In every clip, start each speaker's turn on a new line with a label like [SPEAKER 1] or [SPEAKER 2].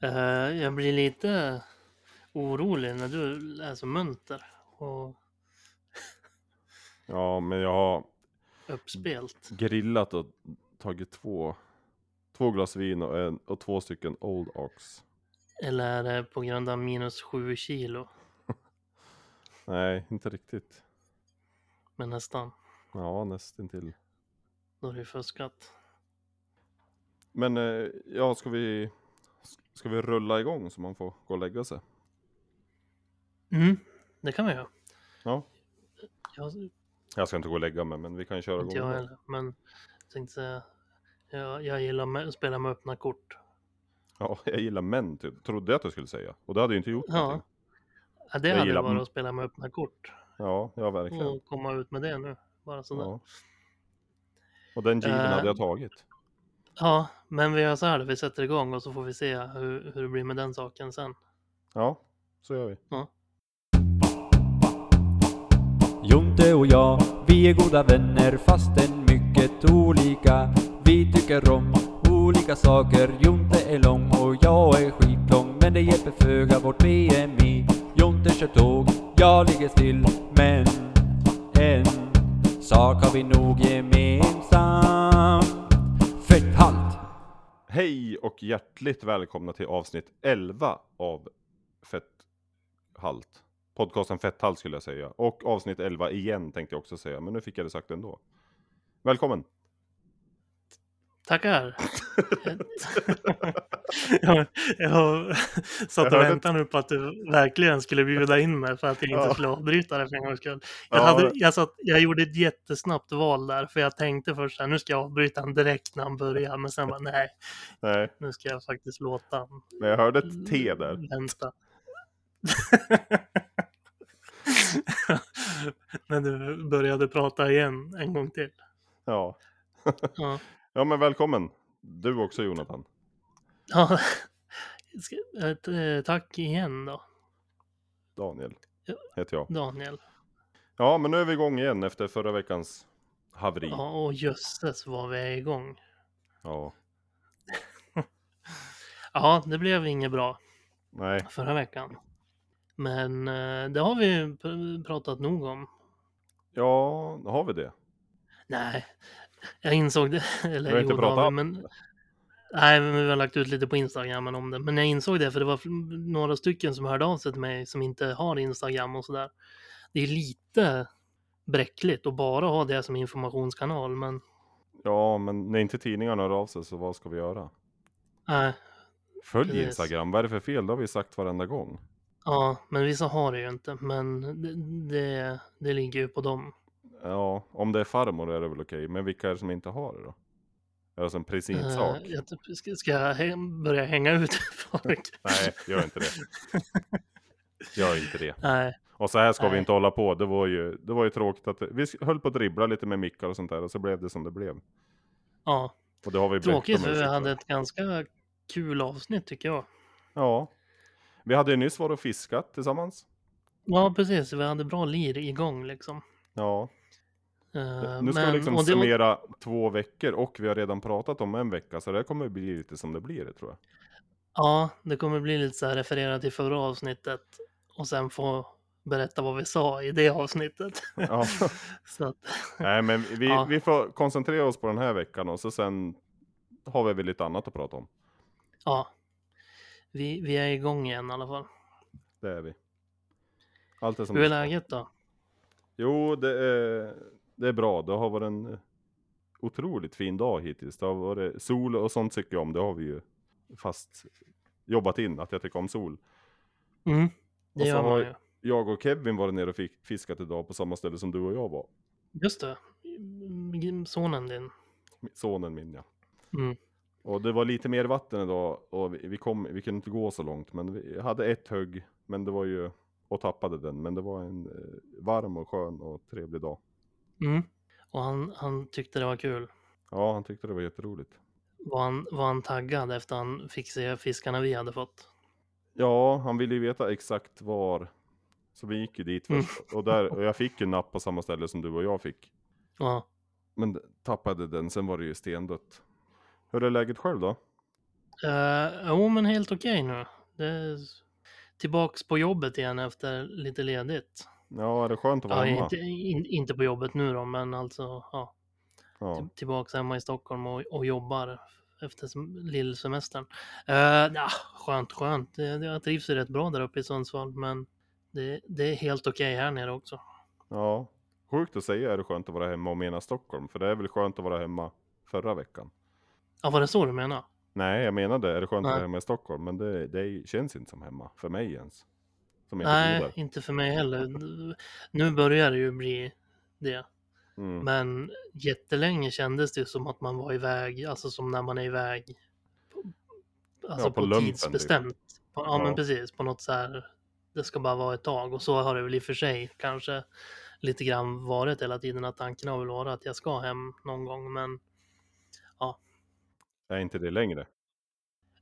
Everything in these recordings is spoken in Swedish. [SPEAKER 1] Eh, jag blir lite orolig när du är så munter och
[SPEAKER 2] Ja, men jag har
[SPEAKER 1] uppspelt.
[SPEAKER 2] grillat och tagit två, två glas vin och, en, och två stycken Old Ox.
[SPEAKER 1] Eller är det på grund av minus sju kilo?
[SPEAKER 2] Nej, inte riktigt.
[SPEAKER 1] Men nästan.
[SPEAKER 2] Ja, nästintill.
[SPEAKER 1] Då har du fuskat.
[SPEAKER 2] Men eh, ja, ska vi, ska vi rulla igång så man får gå och lägga sig?
[SPEAKER 1] Mm, det kan vi göra.
[SPEAKER 2] Ja.
[SPEAKER 1] Jag,
[SPEAKER 2] Jag ska inte gå och lägga mig, men vi kan köra igång.
[SPEAKER 1] inte jag
[SPEAKER 2] då.
[SPEAKER 1] heller, men jag tänkte säga. Jag, jag gillar med- att spela med öppna kort.
[SPEAKER 2] Ja, jag gillar män, typ. trodde jag att du skulle säga. Och det hade ju inte gjort
[SPEAKER 1] Ja.
[SPEAKER 2] någonting.
[SPEAKER 1] Ja, det
[SPEAKER 2] Jag
[SPEAKER 1] hade
[SPEAKER 2] gillar-
[SPEAKER 1] varit att spela med öppna kort.
[SPEAKER 2] Ja, ja verkligen.
[SPEAKER 1] Och komma ut med det nu. Bara sådär.
[SPEAKER 2] Ja. Och den given
[SPEAKER 1] Eh,
[SPEAKER 2] hade jag tagit.
[SPEAKER 1] Ja, men vi gör så här, vi sätter igång och så får vi se hur, hur det blir med den saken sen.
[SPEAKER 2] Ja, så gör vi.
[SPEAKER 3] Jonte och jag, vi är goda vänner fastän mycket olika. Vi tycker om olika saker. Jonte är lång och jag är skitlång. Men det hjälper föga vårt BMI. Jonte kör tåg, jag ligger still. Men en sak har vi nog gemensam. Fetthalt!
[SPEAKER 2] Hej och hjärtligt välkomna till avsnitt 11 av Fetthalt. Podcasten Fetthalt skulle jag säga. Och avsnitt 11 igen tänkte jag också säga, men nu fick jag det sagt ändå. Välkommen!
[SPEAKER 1] Tackar! jag, jag satt och
[SPEAKER 2] hörde
[SPEAKER 1] väntade nu på att du verkligen skulle bjuda in mig för att jag inte
[SPEAKER 2] Ja.
[SPEAKER 1] skulle avbryta det för en gångs skull. Jag,
[SPEAKER 2] Ja,
[SPEAKER 1] hade,
[SPEAKER 2] det-
[SPEAKER 1] jag, satt, jag gjorde ett jättesnabbt val där, för jag tänkte först att nu ska jag avbryta honom direkt när han börjar, men sen bara nej,
[SPEAKER 2] Nej,
[SPEAKER 1] nu ska jag faktiskt låta honom
[SPEAKER 2] men jag hörde ett T
[SPEAKER 1] Mm.
[SPEAKER 2] där.
[SPEAKER 1] vänta. när du började prata igen en gång till.
[SPEAKER 2] Ja.
[SPEAKER 1] Ja.
[SPEAKER 2] ja, men välkommen. Du också Jonathan.
[SPEAKER 1] Ja, ska, ett, eh, tack igen då,
[SPEAKER 2] Daniel
[SPEAKER 1] Ja.
[SPEAKER 2] heter jag.
[SPEAKER 1] Daniel.
[SPEAKER 2] Ja, men nu är vi igång igen efter förra veckans haveri.
[SPEAKER 1] Ja, och jösses vad vi är igång.
[SPEAKER 2] Ja.
[SPEAKER 1] Ja, det blev inget bra
[SPEAKER 2] Nej,
[SPEAKER 1] förra veckan. Men eh, det har vi pr- pratat nog om.
[SPEAKER 2] ja, har vi det?
[SPEAKER 1] Nej, jag insåg det. Eller
[SPEAKER 2] Vi har inte
[SPEAKER 1] jo, det
[SPEAKER 2] pratat
[SPEAKER 1] har vi,
[SPEAKER 2] om
[SPEAKER 1] men... Nej, men vi har lagt ut lite på Instagram men om det. Men jag insåg det, för det var fl- några stycken som hörde av sig till mig som inte har Instagram och sådär. Det är lite bräckligt att bara ha det som informationskanal, men
[SPEAKER 2] Ja, men när inte tidningarna hör av sig så vad ska vi göra?
[SPEAKER 1] nej.
[SPEAKER 2] Följ
[SPEAKER 1] Precis.
[SPEAKER 2] Instagram, vad är det för fel? Det har vi sagt varenda gång.
[SPEAKER 1] Ja, men vissa har det ju inte. Men det, det, det ligger ju på dem.
[SPEAKER 2] Ja, om det är farmor är det väl okej, men vilka är det som inte har det då? Är det alltså en
[SPEAKER 1] Eh,
[SPEAKER 2] precinsak?
[SPEAKER 1] jag, typ- ska, ska jag hem, börja hänga ut folk?
[SPEAKER 2] Nej, gör inte det. Gör inte det.
[SPEAKER 1] Nej,
[SPEAKER 2] Och så här ska vi
[SPEAKER 1] Nej.
[SPEAKER 2] inte hålla på, det var ju, det var ju tråkigt att vi sk- höll på att dribbla lite med mickar och sånt där och så blev det som det blev.
[SPEAKER 1] ja.
[SPEAKER 2] Och det har vi bett
[SPEAKER 1] Tråkigt
[SPEAKER 2] om
[SPEAKER 1] för vi
[SPEAKER 2] ursäkt
[SPEAKER 1] hade
[SPEAKER 2] för.
[SPEAKER 1] ett ganska kul avsnitt tycker jag.
[SPEAKER 2] Ja. Vi hade ju nyss varit och fiskat tillsammans.
[SPEAKER 1] Ja, precis. Vi hade bra lir igång liksom.
[SPEAKER 2] Ja,
[SPEAKER 1] Eh,
[SPEAKER 2] nu ska vi liksom
[SPEAKER 1] och det-
[SPEAKER 2] summera två veckor och vi har redan pratat om en vecka så det här kommer bli lite som det blir det tror jag.
[SPEAKER 1] Ja, det kommer bli lite så här refererat till förra avsnittet och sen få berätta vad vi sa i det avsnittet.
[SPEAKER 2] Ja.
[SPEAKER 1] så att,
[SPEAKER 2] Nej, men vi,
[SPEAKER 1] Ja.
[SPEAKER 2] vi får koncentrera oss på den här veckan och så sen har vi väl lite annat att prata om.
[SPEAKER 1] ja. Vi, vi är igång igen i alla fall.
[SPEAKER 2] Det är vi. Allt är som
[SPEAKER 1] Hur är
[SPEAKER 2] det ska.
[SPEAKER 1] läget då?
[SPEAKER 2] Jo, det är, det är bra. Det har varit en otroligt fin dag hittills. Det har varit sol och sånt tycker jag om. Det har vi ju fast jobbat in att jag tycker om sol.
[SPEAKER 1] Mm, det
[SPEAKER 2] Och så
[SPEAKER 1] gör man
[SPEAKER 2] Alltså, har-
[SPEAKER 1] ju.
[SPEAKER 2] Jag och Kevin var nere och fick fiskat idag på samma ställe som du och jag var.
[SPEAKER 1] Just det. Mm, Sonen din.
[SPEAKER 2] Sonen min ja.
[SPEAKER 1] Mm.
[SPEAKER 2] Och det var lite mer vatten idag och vi, vi, kom, vi kunde inte gå så långt. Men vi hade ett hugg, men det var ju och tappade den. Men det var en eh, varm och skön och trevlig dag.
[SPEAKER 1] Mm. Och han, han tyckte det var kul.
[SPEAKER 2] Ja, han tyckte det var jätteroligt.
[SPEAKER 1] Var han, var han taggad efter han fick se fiskarna vi hade fått?
[SPEAKER 2] Ja, han ville ju veta exakt var. Så vi gick ju dit
[SPEAKER 1] Mm.
[SPEAKER 2] först. Och, där, och jag fick ju napp på samma ställe som du och jag fick.
[SPEAKER 1] Ja.
[SPEAKER 2] Men d- tappade den, sen var det ju stendött. Hur är läget själv då?
[SPEAKER 1] Eh, jo, men helt okej nu. Det är tillbaks på jobbet igen efter lite ledigt.
[SPEAKER 2] Ja, är det skönt att vara
[SPEAKER 1] Ja,
[SPEAKER 2] hemma?
[SPEAKER 1] inte, in, inte på jobbet nu då, men alltså ja,
[SPEAKER 2] Ja.
[SPEAKER 1] till, tillbaks hemma i Stockholm och, och jobbar efter sem- lillsemestern. Uh, ja, skönt, skönt. Det, det, jag trivs ju rätt bra där uppe i Sundsvall, men det, det är helt okej här nere också.
[SPEAKER 2] ja. Sjukt att säga är det skönt att vara hemma och mena Stockholm, för det är väl skönt att vara hemma förra veckan?
[SPEAKER 1] Ja, var det så du menar?
[SPEAKER 2] Nej, jag menade är det skönt att
[SPEAKER 1] Nej.
[SPEAKER 2] vara hemma i Stockholm, men det, det känns inte som hemma för mig ens. Som inte bor
[SPEAKER 1] Nej,
[SPEAKER 2] där.
[SPEAKER 1] inte för mig heller. Nu börjar det ju bli det.
[SPEAKER 2] Mm.
[SPEAKER 1] Men jättelänge kändes det som att man var iväg, alltså som när man är iväg. Alltså
[SPEAKER 2] Ja,
[SPEAKER 1] på,
[SPEAKER 2] på lumpen, typ.
[SPEAKER 1] tidsbestämt. På, ja,
[SPEAKER 2] Ja.
[SPEAKER 1] men precis. På något så här, det ska bara vara ett tag. Och så har det väl i och för sig kanske lite grann varit hela tiden att tanken har väl varit att jag ska hem någon gång. Men
[SPEAKER 2] Är inte det längre?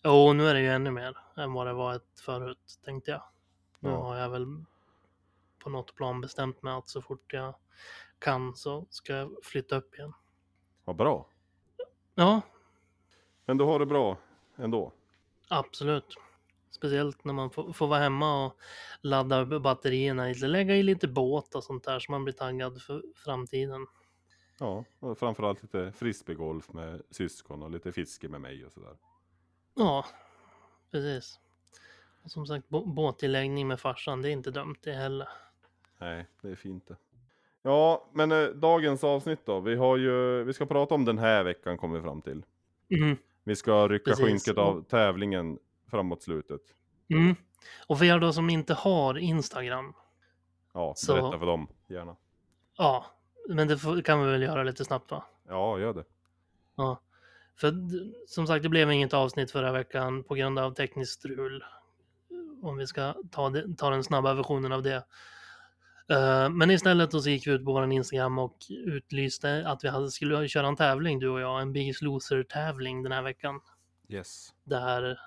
[SPEAKER 1] jo, nu är det ju ännu mer än vad det var ett förut, tänkte jag. Nu
[SPEAKER 2] Ja.
[SPEAKER 1] har jag väl på något plan bestämt mig att så fort jag kan så ska jag flytta upp igen.
[SPEAKER 2] Vad bra.
[SPEAKER 1] Ja,
[SPEAKER 2] Men du har det bra ändå?
[SPEAKER 1] Absolut. Speciellt när man får, får vara hemma och ladda upp batterierna, lite- lägga i lite båt och sånt där så man blir taggad för framtiden.
[SPEAKER 2] Ja, och framförallt lite frisbeegolf med syskon och lite fiske med mig och sådär.
[SPEAKER 1] Ja, precis. Och som sagt, bå- båttilläggning med farsan, det är inte dumt det heller.
[SPEAKER 2] Nej, det är fint det. Ja, men eh, dagens avsnitt då. Vi har ju, vi ska prata om den här veckan kommer vi fram till.
[SPEAKER 1] Mm.
[SPEAKER 2] Vi ska rycka
[SPEAKER 1] Precis.
[SPEAKER 2] skynket av tävlingen framåt slutet.
[SPEAKER 1] Mm. Och för er då som inte har Instagram,
[SPEAKER 2] Ja,
[SPEAKER 1] Så-
[SPEAKER 2] berätta för dem gärna.
[SPEAKER 1] ja, men det får, kan vi väl göra lite snabbt va?
[SPEAKER 2] Ja, gör det.
[SPEAKER 1] Ja. För d- som sagt, det blev inget avsnitt förra veckan på grund av tekniskt strul. Om vi ska ta, det, ta den snabba versionen av det. Eh, Men istället då så gick vi ut på vår Instagram och utlyste att vi hade, skulle köra en tävling du och jag, en Biggest Loser-tävling den här veckan.
[SPEAKER 2] Yes.
[SPEAKER 1] Där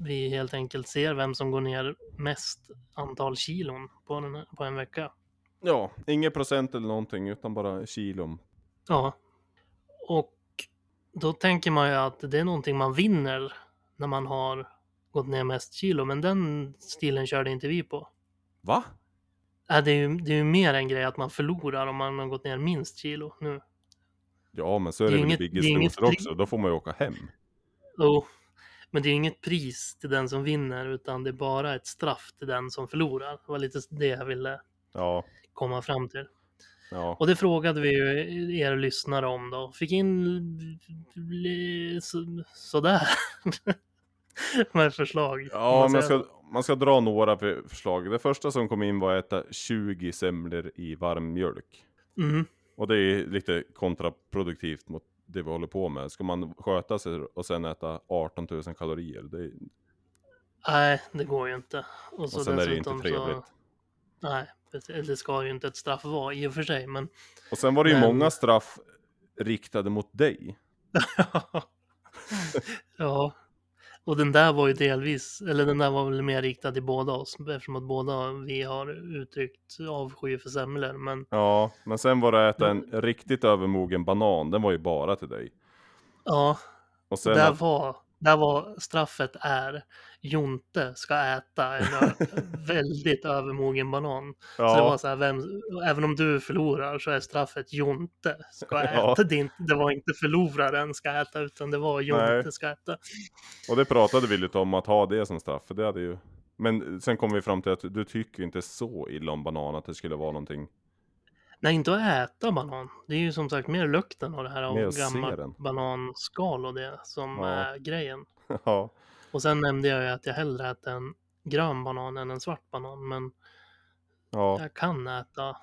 [SPEAKER 1] vi helt enkelt ser vem som går ner mest antal kilon på en, på en vecka.
[SPEAKER 2] Ja, inget procent eller någonting utan bara kilon.
[SPEAKER 1] Ja. Och då tänker man ju att det är någonting man vinner när man har gått ner mest kilo, men den stilen körde inte vi på.
[SPEAKER 2] Va?
[SPEAKER 1] Äh, det, är ju, det är ju mer en grej att man förlorar om man har gått ner minst kilo nu.
[SPEAKER 2] Ja, men så är
[SPEAKER 1] Det
[SPEAKER 2] det,
[SPEAKER 1] är
[SPEAKER 2] väl i
[SPEAKER 1] inget- det är
[SPEAKER 2] Biggest
[SPEAKER 1] inget
[SPEAKER 2] Loser
[SPEAKER 1] pris.
[SPEAKER 2] också. Då får man ju åka hem.
[SPEAKER 1] Jo, men det är ju inget pris till den som vinner, utan det är bara ett straff till den som förlorar. Det var lite det jag ville
[SPEAKER 2] Ja,
[SPEAKER 1] komma fram till.
[SPEAKER 2] ja.
[SPEAKER 1] Och det frågade vi ju er lyssnare om då. Fick in li- så, sådär med förslag. Om
[SPEAKER 2] Ja,
[SPEAKER 1] man
[SPEAKER 2] man
[SPEAKER 1] säger
[SPEAKER 2] ska, man ska dra några för- förslag. Det första som kom in var att äta 20 semlor i varm mjölk.
[SPEAKER 1] så. Mm,
[SPEAKER 2] Och det är lite kontraproduktivt mot det vi håller på med. Ska man sköta sig och sen äta 18 000 kalorier, det, är-
[SPEAKER 1] nej, det går ju inte. Och, så
[SPEAKER 2] och sen är det inte
[SPEAKER 1] dessutom
[SPEAKER 2] trevligt.
[SPEAKER 1] Så, nej, precis. det ska ju inte ett straff vara i och för sig, men
[SPEAKER 2] Och sen var det ju
[SPEAKER 1] Men-
[SPEAKER 2] många straff riktade mot dig.
[SPEAKER 1] ja. Och den där var ju delvis, eller den där var väl mer riktad till båda oss, eftersom att båda vi har uttryckt avsky för semlor, men
[SPEAKER 2] Ja, men sen var det att äta en riktigt övermogen banan, den var ju bara till dig.
[SPEAKER 1] ja.
[SPEAKER 2] Och sen
[SPEAKER 1] Där
[SPEAKER 2] att,
[SPEAKER 1] var, där var straffet är Jonte ska äta en ö- väldigt övermogen banan. Så det var
[SPEAKER 2] ja,
[SPEAKER 1] så här, vem, även om du förlorar så är straffet Jonte ska äta.
[SPEAKER 2] Ja.
[SPEAKER 1] Det, är inte, det var inte förloraren ska äta utan det var Jonte
[SPEAKER 2] Nej.
[SPEAKER 1] ska äta.
[SPEAKER 2] och det pratade vi lite om att ha det som straff, för det hade ju... Men sen kom vi fram till att du tycker ju inte så illa om banan att det skulle vara någonting
[SPEAKER 1] Nej, inte att äta banan. Det är ju som sagt mer lukten av det här av
[SPEAKER 2] Mer att se den.
[SPEAKER 1] gammalt bananskal och det som
[SPEAKER 2] Ja.
[SPEAKER 1] är grejen.
[SPEAKER 2] Ja,
[SPEAKER 1] Och sen nämnde jag ju att jag hellre äter en grön banan än en svart banan. Men
[SPEAKER 2] ja,
[SPEAKER 1] Jag kan äta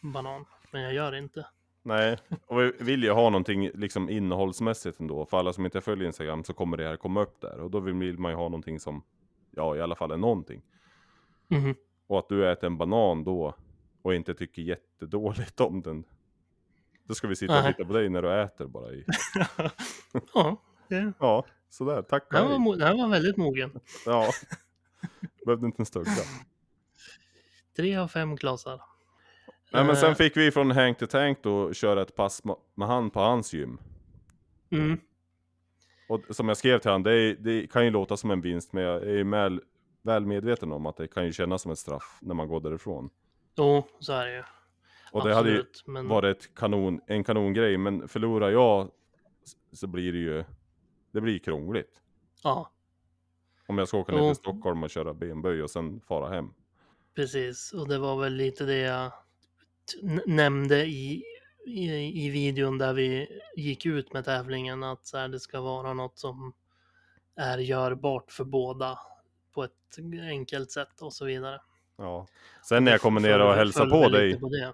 [SPEAKER 1] banan, men jag gör det inte.
[SPEAKER 2] nej. Och vi vill ju ha någonting liksom innehållsmässigt ändå. För alla som inte följer Instagram så kommer det här komma upp där. Och då vill- vill man ju ha någonting som, ja i alla fall är någonting. Och att du äter en banan då och inte tycker jättedåligt om den. Då ska vi sitta och
[SPEAKER 1] Nej.
[SPEAKER 2] titta på dig när du äter bara i.
[SPEAKER 1] ja, det,
[SPEAKER 2] Ja, sådär. Tack och
[SPEAKER 1] den, var,
[SPEAKER 2] hej.
[SPEAKER 1] mo- den var väldigt mogen.
[SPEAKER 2] Ja. Behövde inte en stugga.
[SPEAKER 1] Tre av fem klasar.
[SPEAKER 2] Nej men sen
[SPEAKER 1] Eh,
[SPEAKER 2] fick vi från Hank the Tank då köra ett pass ma- med han på hans gym.
[SPEAKER 1] mm.
[SPEAKER 2] Och som jag skrev till han, det, är, det kan ju låta som en vinst, men jag är ju med, väl medveten om att det kan ju kännas som ett straff när man går därifrån.
[SPEAKER 1] Jo, så är det ju.
[SPEAKER 2] Och det hade ju
[SPEAKER 1] men...
[SPEAKER 2] varit ett kanon, en kanongrej, men förlorar jag så blir det ju, det blir krångligt.
[SPEAKER 1] Ja,
[SPEAKER 2] Om jag ska åka ner
[SPEAKER 1] Jo.
[SPEAKER 2] till Stockholm och köra benböj och sen fara hem.
[SPEAKER 1] precis. Och det var väl lite det jag t- n- nämnde i, i, i videon där vi gick ut med tävlingen. Att så här, det ska vara något som är görbart för båda på ett enkelt sätt och så vidare.
[SPEAKER 2] Ja. Sen när jag kommer ner
[SPEAKER 1] Föll-
[SPEAKER 2] och hälsar
[SPEAKER 1] föll
[SPEAKER 2] på
[SPEAKER 1] väl
[SPEAKER 2] dig,
[SPEAKER 1] lite På det.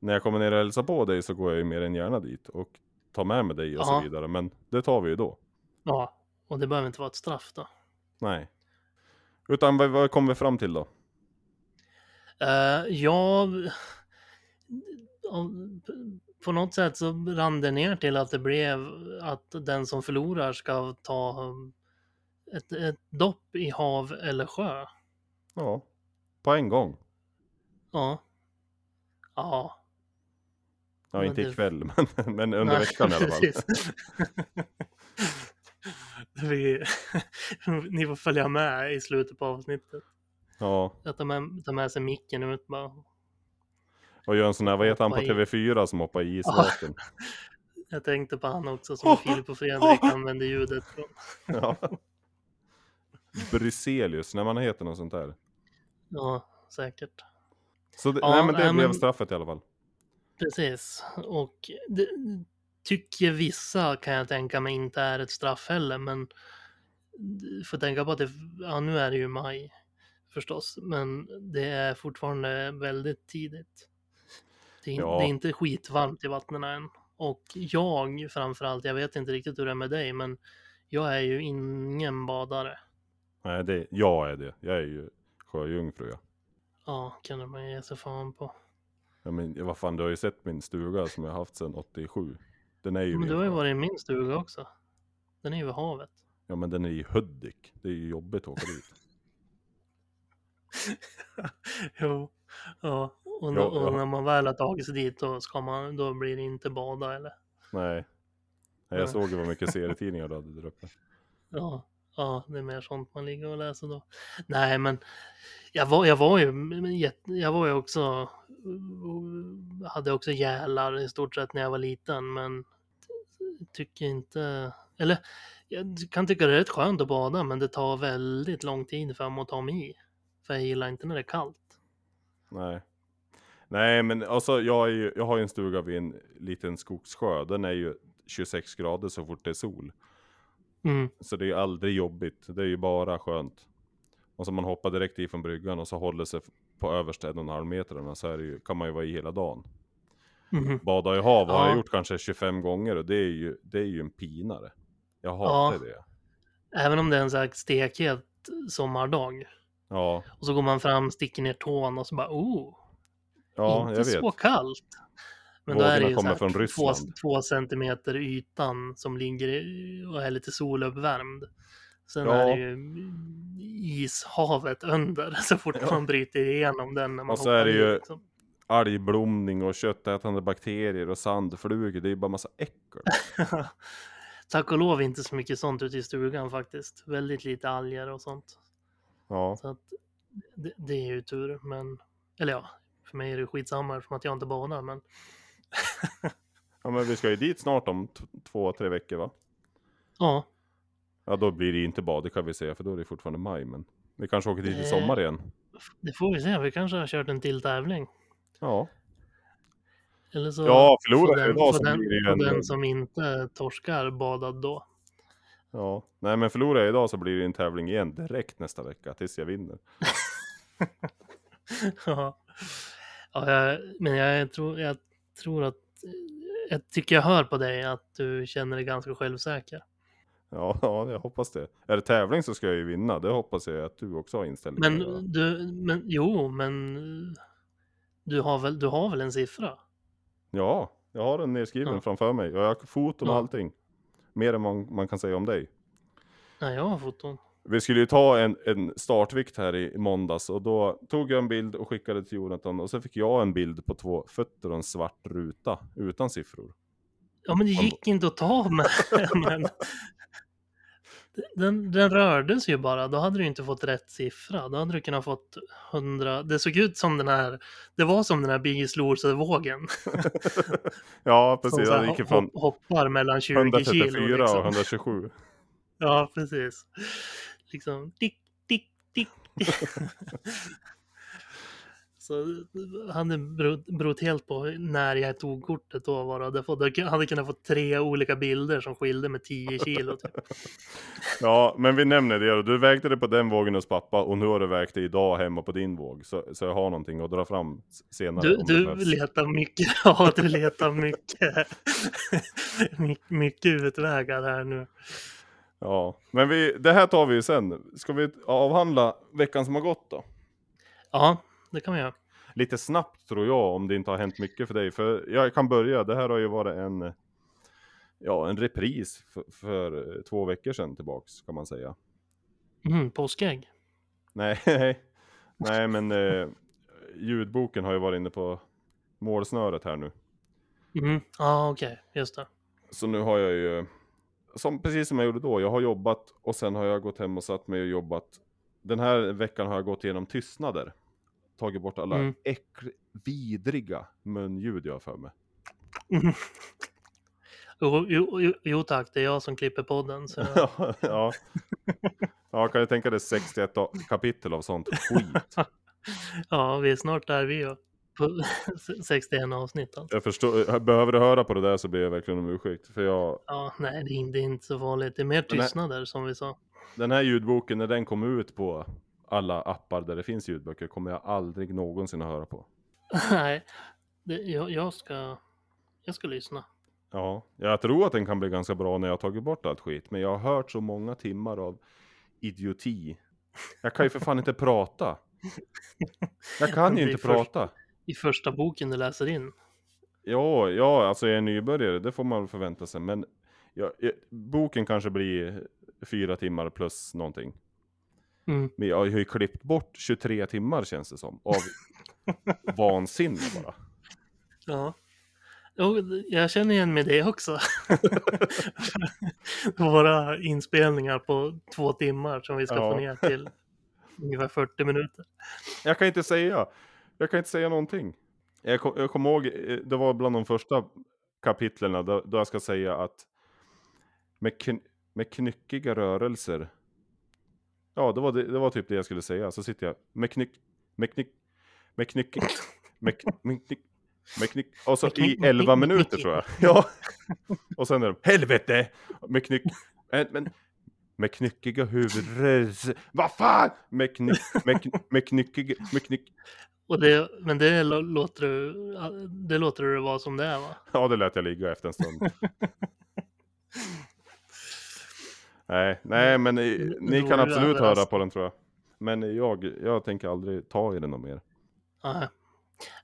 [SPEAKER 2] när jag kommer ner och hälsar på dig så går jag ju mer än gärna dit och tar med mig dig och
[SPEAKER 1] Ja.
[SPEAKER 2] så vidare. Men det tar vi ju då.
[SPEAKER 1] Ja, och det behöver inte vara ett straff då.
[SPEAKER 2] Nej. Utan vad, vad kom vi fram till då?
[SPEAKER 1] Eh, ja, om- på något sätt så rann det ner till att det blev att den som förlorar ska ta um, ett, ett dopp i hav eller sjö.
[SPEAKER 2] Ja, på en gång.
[SPEAKER 1] Ja. Ja.
[SPEAKER 2] Ja,
[SPEAKER 1] Men
[SPEAKER 2] inte
[SPEAKER 1] det-
[SPEAKER 2] ikväll, men, men under
[SPEAKER 1] Nej,
[SPEAKER 2] veckan i alla fall.
[SPEAKER 1] precis. Vi, ni får följa med i slutet på avsnittet.
[SPEAKER 2] Ja,
[SPEAKER 1] Jag tar med, tar med sig micken ut bara.
[SPEAKER 2] och gör en sån här, vad heter han på
[SPEAKER 1] Hoppa i.
[SPEAKER 2] TV4 som hoppar i
[SPEAKER 1] Ja.
[SPEAKER 2] isvaken?
[SPEAKER 1] Jag tänkte på han också som Filip och Fredrik använde ljudet från.
[SPEAKER 2] Ja. Bryselius, när man heter något sånt där.
[SPEAKER 1] Ja, säkert.
[SPEAKER 2] Så det,
[SPEAKER 1] Ja,
[SPEAKER 2] nej men det
[SPEAKER 1] nej,
[SPEAKER 2] blev
[SPEAKER 1] men-
[SPEAKER 2] straffet i alla fall.
[SPEAKER 1] Precis. Och det tycker vissa kan jag tänka mig inte är ett straff heller, men du får tänka på att det, ja, nu är det ju maj förstås, men det är fortfarande väldigt tidigt. Det är, in-
[SPEAKER 2] Ja.
[SPEAKER 1] det är inte skitvarmt i vattnen än. Och jag framförallt, jag vet inte riktigt hur det är med dig, men jag är ju ingen badare.
[SPEAKER 2] Nej, det, jag är det. Jag är ju sjöjungfru jag.
[SPEAKER 1] Ja, kunde man ge sig fan på.
[SPEAKER 2] Ja, men vad fan, du har ju sett min stuga som jag har haft sedan 87. Den är ju
[SPEAKER 1] Men
[SPEAKER 2] min
[SPEAKER 1] du har ju
[SPEAKER 2] sjö.
[SPEAKER 1] varit i min stuga också. Den är ju vid havet.
[SPEAKER 2] Ja men den är i Hudik. Det är ju jobbigt att åka dit.
[SPEAKER 1] Jo, ja. Och,
[SPEAKER 2] Ja,
[SPEAKER 1] och
[SPEAKER 2] ja.
[SPEAKER 1] när man väl har tagit sig dit då, ska man, då blir det inte bada eller?
[SPEAKER 2] Nej. Nej
[SPEAKER 1] Nej.
[SPEAKER 2] jag såg ju vad mycket serietidningar du hade där uppe.
[SPEAKER 1] Ja, ja, det är mer sånt man ligger och läser då. Nej, men jag var, jag var ju, men jätte- jag var ju också, hade också gälar i stort sett när jag var liten, men tycker inte, eller jag kan tycka det är rätt skönt att bada, men det tar väldigt lång tid för mig att ta mig i. För jag gillar inte när det är kallt.
[SPEAKER 2] Nej. Nej men alltså jag, är ju, jag har ju en stuga vid en liten skogssjö. Den är ju 26 grader så fort det är sol.
[SPEAKER 1] Mm,
[SPEAKER 2] Så det är ju aldrig jobbigt. Det är ju bara skönt. Och så man hoppar direkt i från bryggan och så håller sig på översta en och en halv meterna så är det ju, kan man ju vara i hela dagen.
[SPEAKER 1] mhm.
[SPEAKER 2] Bada i hav har
[SPEAKER 1] Ja.
[SPEAKER 2] jag gjort kanske 25 gånger och det är ju, det är ju en pinare. Jag hatar det.
[SPEAKER 1] Även om det är en så här stekhet sommardag.
[SPEAKER 2] Ja,
[SPEAKER 1] Och så går man fram, sticker ner tån och så bara oh,
[SPEAKER 2] ja
[SPEAKER 1] inte
[SPEAKER 2] jag
[SPEAKER 1] så
[SPEAKER 2] vet.
[SPEAKER 1] kallt. Men då
[SPEAKER 2] Vågorna
[SPEAKER 1] är det ju så
[SPEAKER 2] kommer
[SPEAKER 1] här
[SPEAKER 2] från
[SPEAKER 1] två,
[SPEAKER 2] Ryssland.
[SPEAKER 1] två centimeter ytan som ligger i- och är lite soluppvärmd. Sen
[SPEAKER 2] Ja.
[SPEAKER 1] är det ju ishavet under så fort
[SPEAKER 2] Ja.
[SPEAKER 1] man bryter igenom den när man
[SPEAKER 2] Och så
[SPEAKER 1] hoppar
[SPEAKER 2] är det
[SPEAKER 1] i,
[SPEAKER 2] ju-
[SPEAKER 1] liksom.
[SPEAKER 2] algblomning och köttätande bakterier och sandflugor. Det är ju bara massa äckel.
[SPEAKER 1] Tack och lov inte så mycket sånt ute i stugan faktiskt. Väldigt lite alger och sånt.
[SPEAKER 2] Ja,
[SPEAKER 1] Så att det, det är ju tur, men eller ja, för mig är det skitsamma eftersom att jag inte badar, men
[SPEAKER 2] ja men vi ska ju dit snart om t- två, tre veckor va?
[SPEAKER 1] ja,
[SPEAKER 2] Ja, då blir det inte bad, det kan vi säga, för då är det fortfarande maj. Men vi kanske åker dit i
[SPEAKER 1] Eh.
[SPEAKER 2] sommar igen.
[SPEAKER 1] det får vi se. Vi kanske har kört en till tävling.
[SPEAKER 2] Ja,
[SPEAKER 1] Eller så
[SPEAKER 2] ja
[SPEAKER 1] får
[SPEAKER 2] förlorar jag
[SPEAKER 1] den,
[SPEAKER 2] idag
[SPEAKER 1] får
[SPEAKER 2] så
[SPEAKER 1] den,
[SPEAKER 2] blir
[SPEAKER 1] får
[SPEAKER 2] det ju en...
[SPEAKER 1] den som inte torskar badad då.
[SPEAKER 2] Ja, nej men förlorar jag idag så blir det en tävling igen direkt nästa vecka tills jag vinner.
[SPEAKER 1] ja, Ja, jag, men jag tror, jag tror att jag tycker jag hör på dig att du känner dig ganska självsäker.
[SPEAKER 2] Ja, ja, jag hoppas det. Är det tävling så ska jag ju vinna. Det hoppas jag att du också har inställning
[SPEAKER 1] Men
[SPEAKER 2] att göra.
[SPEAKER 1] du, men jo, men du har väl, du har väl en siffra?
[SPEAKER 2] Ja, jag har den nedskriven
[SPEAKER 1] Ja.
[SPEAKER 2] framför mig. Jag har foton och
[SPEAKER 1] Ja.
[SPEAKER 2] allting. Mer än man, man kan säga om dig.
[SPEAKER 1] Nej, jag har foton.
[SPEAKER 2] Vi skulle ju ta en, en startvikt här i måndags och då tog jag en bild och skickade till Jonathan och så fick jag en bild på två fötter och en svart ruta utan siffror.
[SPEAKER 1] Ja, men det gick inte att ta med. men Den, den rörde sig ju bara, då hade du inte fått rätt siffra. Då hade du kunnat fått 100. Det såg ut som den här, det var som den här Biggest Loser-vågen.
[SPEAKER 2] Ja,
[SPEAKER 1] Som
[SPEAKER 2] precis.
[SPEAKER 1] så här
[SPEAKER 2] Det gick ju
[SPEAKER 1] hop-
[SPEAKER 2] från
[SPEAKER 1] hoppar mellan 20 kilo.
[SPEAKER 2] 134
[SPEAKER 1] Liksom.
[SPEAKER 2] och 127.
[SPEAKER 1] Ja, precis. Liksom dick, dick, dick. Så han beror- beror helt på när jag tog kortet då var det. Därför hade jag hade kunnat få tre olika bilder som skilde med 10 kilo. Typ.
[SPEAKER 2] Ja, men vi nämner det. Du vägde det på den vågen hos pappa och nu har du vägt det idag hemma på din våg. Så, så jag har någonting att dra fram s- senare.
[SPEAKER 1] Du,
[SPEAKER 2] om det
[SPEAKER 1] du
[SPEAKER 2] behövs.
[SPEAKER 1] letar mycket, ja du letar mycket, My- mycket utvägar här nu.
[SPEAKER 2] Ja, men vi, det här tar vi ju sen. Ska vi avhandla veckan som har gått då?
[SPEAKER 1] Ja, det kan vi göra.
[SPEAKER 2] Lite snabbt tror jag, om det inte har hänt mycket för dig. För jag kan börja. Det här har ju varit en, ja, en repris för, för eh, två veckor sedan tillbaks, kan man säga.
[SPEAKER 1] Mm, påskägg.
[SPEAKER 2] Nej, nej. nej men eh, ljudboken har ju varit inne på målsnöret här nu.
[SPEAKER 1] Mm. Ja, okej, just det.
[SPEAKER 2] Så nu har jag ju, som, precis som jag gjorde då, jag har jobbat och sen har jag gått hem och satt mig och jobbat. Den här veckan har jag gått igenom tystnader. Tagit bort alla
[SPEAKER 1] Mm.
[SPEAKER 2] äckl- vidriga munljud jag har för mig.
[SPEAKER 1] Jo, jo, jo, jo tack, det är jag som klipper podden. Så.
[SPEAKER 2] Ja, ja. ja kan du tänka dig 61 kapitel av sånt skit?
[SPEAKER 1] Ja, vi är snart där vi är. På 61 avsnitt alltså.
[SPEAKER 2] Jag förstår, behöver du höra på det där så ber jag verkligen om ursäkt. För jag,
[SPEAKER 1] Ja, nej det är, inte, det är inte så farligt. Det är mer
[SPEAKER 2] Men nej.
[SPEAKER 1] tystnader som vi sa.
[SPEAKER 2] den här ljudboken, när den kom ut på alla appar där det finns ljudböcker, kommer jag aldrig någonsin att höra på.
[SPEAKER 1] Nej, det, jag, jag, ska, jag ska lyssna.
[SPEAKER 2] Ja, jag tror att den kan bli ganska bra när jag har tagit bort allt skit. Men jag har hört så många timmar av idioti. Jag kan ju för fan inte prata. Jag kan
[SPEAKER 1] Det
[SPEAKER 2] ju
[SPEAKER 1] är
[SPEAKER 2] inte
[SPEAKER 1] först-
[SPEAKER 2] prata.
[SPEAKER 1] I första boken du läser in.
[SPEAKER 2] Ja, ja, alltså jag är nybörjare, det får man väl förvänta sig. Men jag, jag, boken kanske blir fyra timmar plus någonting.
[SPEAKER 1] Mm.
[SPEAKER 2] Men jag har ju klippt bort 23 timmar känns det som. Av vansinne bara.
[SPEAKER 1] Ja. Jo, jag känner igen mig i det också. Våra inspelningar på två timmar som vi ska
[SPEAKER 2] Ja.
[SPEAKER 1] få ner till ungefär 40 minuter.
[SPEAKER 2] Jag kan inte säga. Jag kan inte säga någonting. Jag, kom, jag kommer ihåg, eh, det var bland de första kapitlen där, där jag ska säga att med, kn, med knyckiga rörelser. Ja, det var, det, det var typ det jag skulle säga. Så sitter jag med knyck, med knyck, med knyck, med knyck, med knyck. Med knyck. Och så
[SPEAKER 1] Med knyck,
[SPEAKER 2] i
[SPEAKER 1] med
[SPEAKER 2] 11
[SPEAKER 1] knyck, med
[SPEAKER 2] minuter
[SPEAKER 1] knyck.
[SPEAKER 2] tror jag. Ja. Och sen är de, helvete! Med knyck. Eh, Men, med knyckiga huvudrörelser. Vad fan! Med knyck, med, kn- med knyckiga, med knyck.
[SPEAKER 1] Och det, men det lå- låter, du, det låter du det vara som det är va?
[SPEAKER 2] Ja, det lät jag ligga efter en stund. nej, nej, men ni, ni
[SPEAKER 1] Då
[SPEAKER 2] kan
[SPEAKER 1] är du
[SPEAKER 2] absolut höra
[SPEAKER 1] överraskad.
[SPEAKER 2] på den tror jag. Men jag, jag tänker aldrig ta i den någon mer.
[SPEAKER 1] Nej,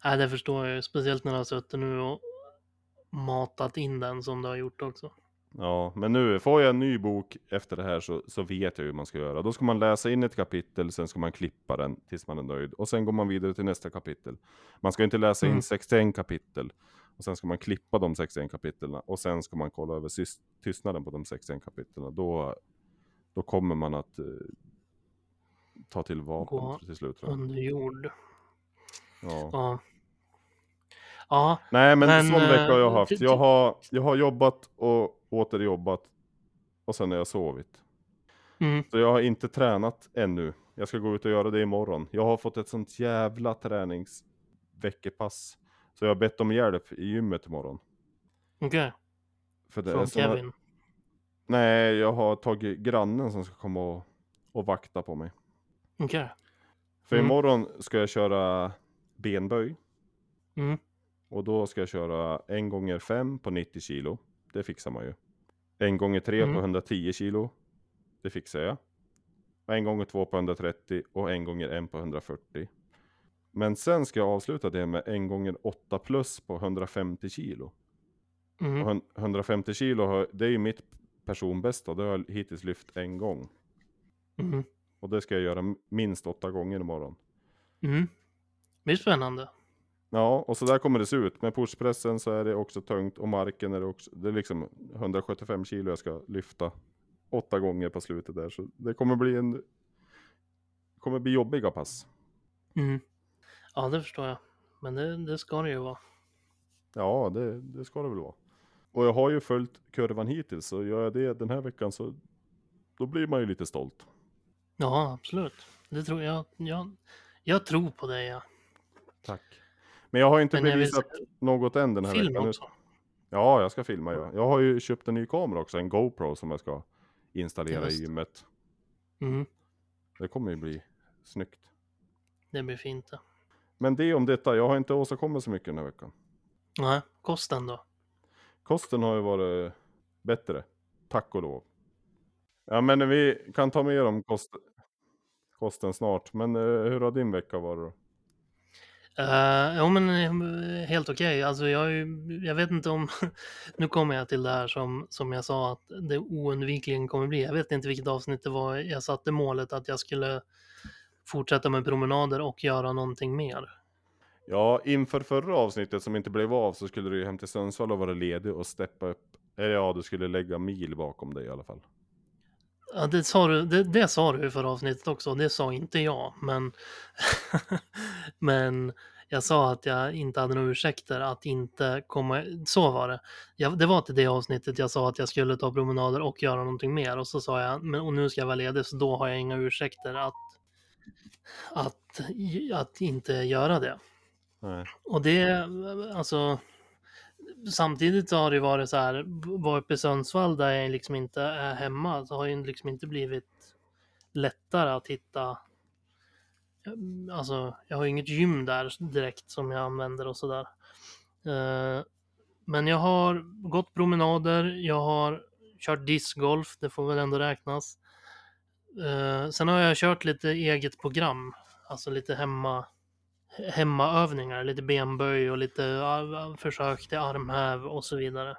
[SPEAKER 1] Nej, det förstår jag ju. Speciellt när du har suttit nu och matat in den som du har gjort också.
[SPEAKER 2] Ja, men nu får jag en ny bok efter det här så, så vet jag hur man ska göra. Då ska man läsa in ett kapitel, sen ska man klippa den tills man är nöjd. Och sen går man vidare till nästa kapitel. Man ska inte läsa in
[SPEAKER 1] Mm.
[SPEAKER 2] 61 kapitel. Och sen ska man klippa de 61 kapitlen. Och sen ska man kolla över sys- tystnaden på de 61 kapitlen. Då, då kommer man att eh, ta till vapen
[SPEAKER 1] Gå
[SPEAKER 2] till slut. tror jag.
[SPEAKER 1] Under jord.
[SPEAKER 2] Ja.
[SPEAKER 1] Ja. Ja,
[SPEAKER 2] Nej, men,
[SPEAKER 1] Men,
[SPEAKER 2] sån vecka har jag
[SPEAKER 1] eh,
[SPEAKER 2] haft.
[SPEAKER 1] ty-
[SPEAKER 2] Jag har, jag har jobbat och återjobbat. Och sen har jag sovit.
[SPEAKER 1] mm,
[SPEAKER 2] Så jag har inte tränat ännu. Jag ska gå ut och göra det imorgon. Jag har fått ett sånt jävla träningsveckepass. Så jag har bett om hjälp i gymmet imorgon.
[SPEAKER 1] okej.
[SPEAKER 2] För det är
[SPEAKER 1] Från
[SPEAKER 2] såna-
[SPEAKER 1] Kevin.
[SPEAKER 2] Nej, jag har tagit grannen som ska komma och, och vakta på mig.
[SPEAKER 1] Okej.
[SPEAKER 2] För
[SPEAKER 1] Mm.
[SPEAKER 2] imorgon ska jag köra benböj.
[SPEAKER 1] Mm.
[SPEAKER 2] Och då ska jag köra en gånger fem på 90 kilo. Det fixar man ju. En gånger tre
[SPEAKER 1] Mm.
[SPEAKER 2] på 110 kilo. Det fixar jag. Och en gånger två på 130 och en gånger en på 140. Men sen ska jag avsluta det med en gånger åtta plus på 150 kilo. Och
[SPEAKER 1] Mm.
[SPEAKER 2] hun- 150 kilo, har- det är ju mitt personbästa. Det har jag hittills lyft en gång.
[SPEAKER 1] Mm.
[SPEAKER 2] Och det ska jag göra minst åtta gånger imorgon.
[SPEAKER 1] Mm. Det är spännande.
[SPEAKER 2] Ja, och så där kommer det se ut. Med pushpressen så är det också tungt och marken är det också. Det är liksom 175 kilo jag ska lyfta åtta gånger på slutet där. Så det kommer bli en... kommer bli jobbiga pass.
[SPEAKER 1] Mm. Ja, det förstår jag. Men det, det ska det ju vara.
[SPEAKER 2] Ja, det, det ska det väl vara. Och jag har ju följt kurvan hittills, så gör jag det den här veckan så då blir man ju lite stolt.
[SPEAKER 1] Ja, absolut. Det tror jag. Jag, jag tror på dig. Ja.
[SPEAKER 2] Tack. Men jag har ju inte
[SPEAKER 1] Men jag vill
[SPEAKER 2] bevisat något än den här
[SPEAKER 1] Film
[SPEAKER 2] veckan.
[SPEAKER 1] också.
[SPEAKER 2] Ja, jag ska filma ja. Jag har ju köpt en ny kamera också, en GoPro som jag ska installera
[SPEAKER 1] Just.
[SPEAKER 2] i gymmet.
[SPEAKER 1] Mm.
[SPEAKER 2] Det kommer ju bli snyggt.
[SPEAKER 1] Det blir fint det.
[SPEAKER 2] Men det om detta, jag har inte åstadkommit så mycket den här veckan.
[SPEAKER 1] Nej, kosten då?
[SPEAKER 2] Kosten har ju varit bättre, tack och lov. Ja men vi kan ta mer om kost, kosten snart. Men eh, hur har din vecka varit då?
[SPEAKER 1] Uh, jo men eh, helt okej. Alltså jag, är ju- jag vet inte om... nu kommer jag till det här som, som jag sa att det oundvikligen kommer bli. Jag vet inte vilket avsnitt det var jag satte målet att jag skulle fortsätta med promenader och göra någonting mer.
[SPEAKER 2] Ja, inför förra avsnittet som inte blev av så skulle du ju hem till Sundsvall och vara ledig och steppa upp. Eller ja, du skulle lägga mil bakom dig i alla fall.
[SPEAKER 1] Ja, det, sa du, det, det sa du i förra avsnittet också, det sa inte jag. Men, men jag sa att jag inte hade några ursäkter att inte komma... Så var det. Jag, det var till det avsnittet jag sa att jag skulle ta promenader och göra någonting mer. Och så sa jag, men, och nu ska jag vara ledig, så då har jag inga ursäkter att, att, att inte göra det.
[SPEAKER 2] Nej.
[SPEAKER 1] Och det, alltså, samtidigt så har det varit så här, vara uppe i Sundsvall där jag liksom inte är hemma, så har ju liksom inte blivit lättare att hitta, alltså, jag har ju inget gym där direkt som jag använder och sådär. Eh, Men jag har gått promenader, jag har kört discgolf, det får väl ändå räknas. Eh, Sen har jag kört lite eget program, alltså lite hemma, hemmaövningar, lite benböj och lite ja, försök till armhäv och så vidare.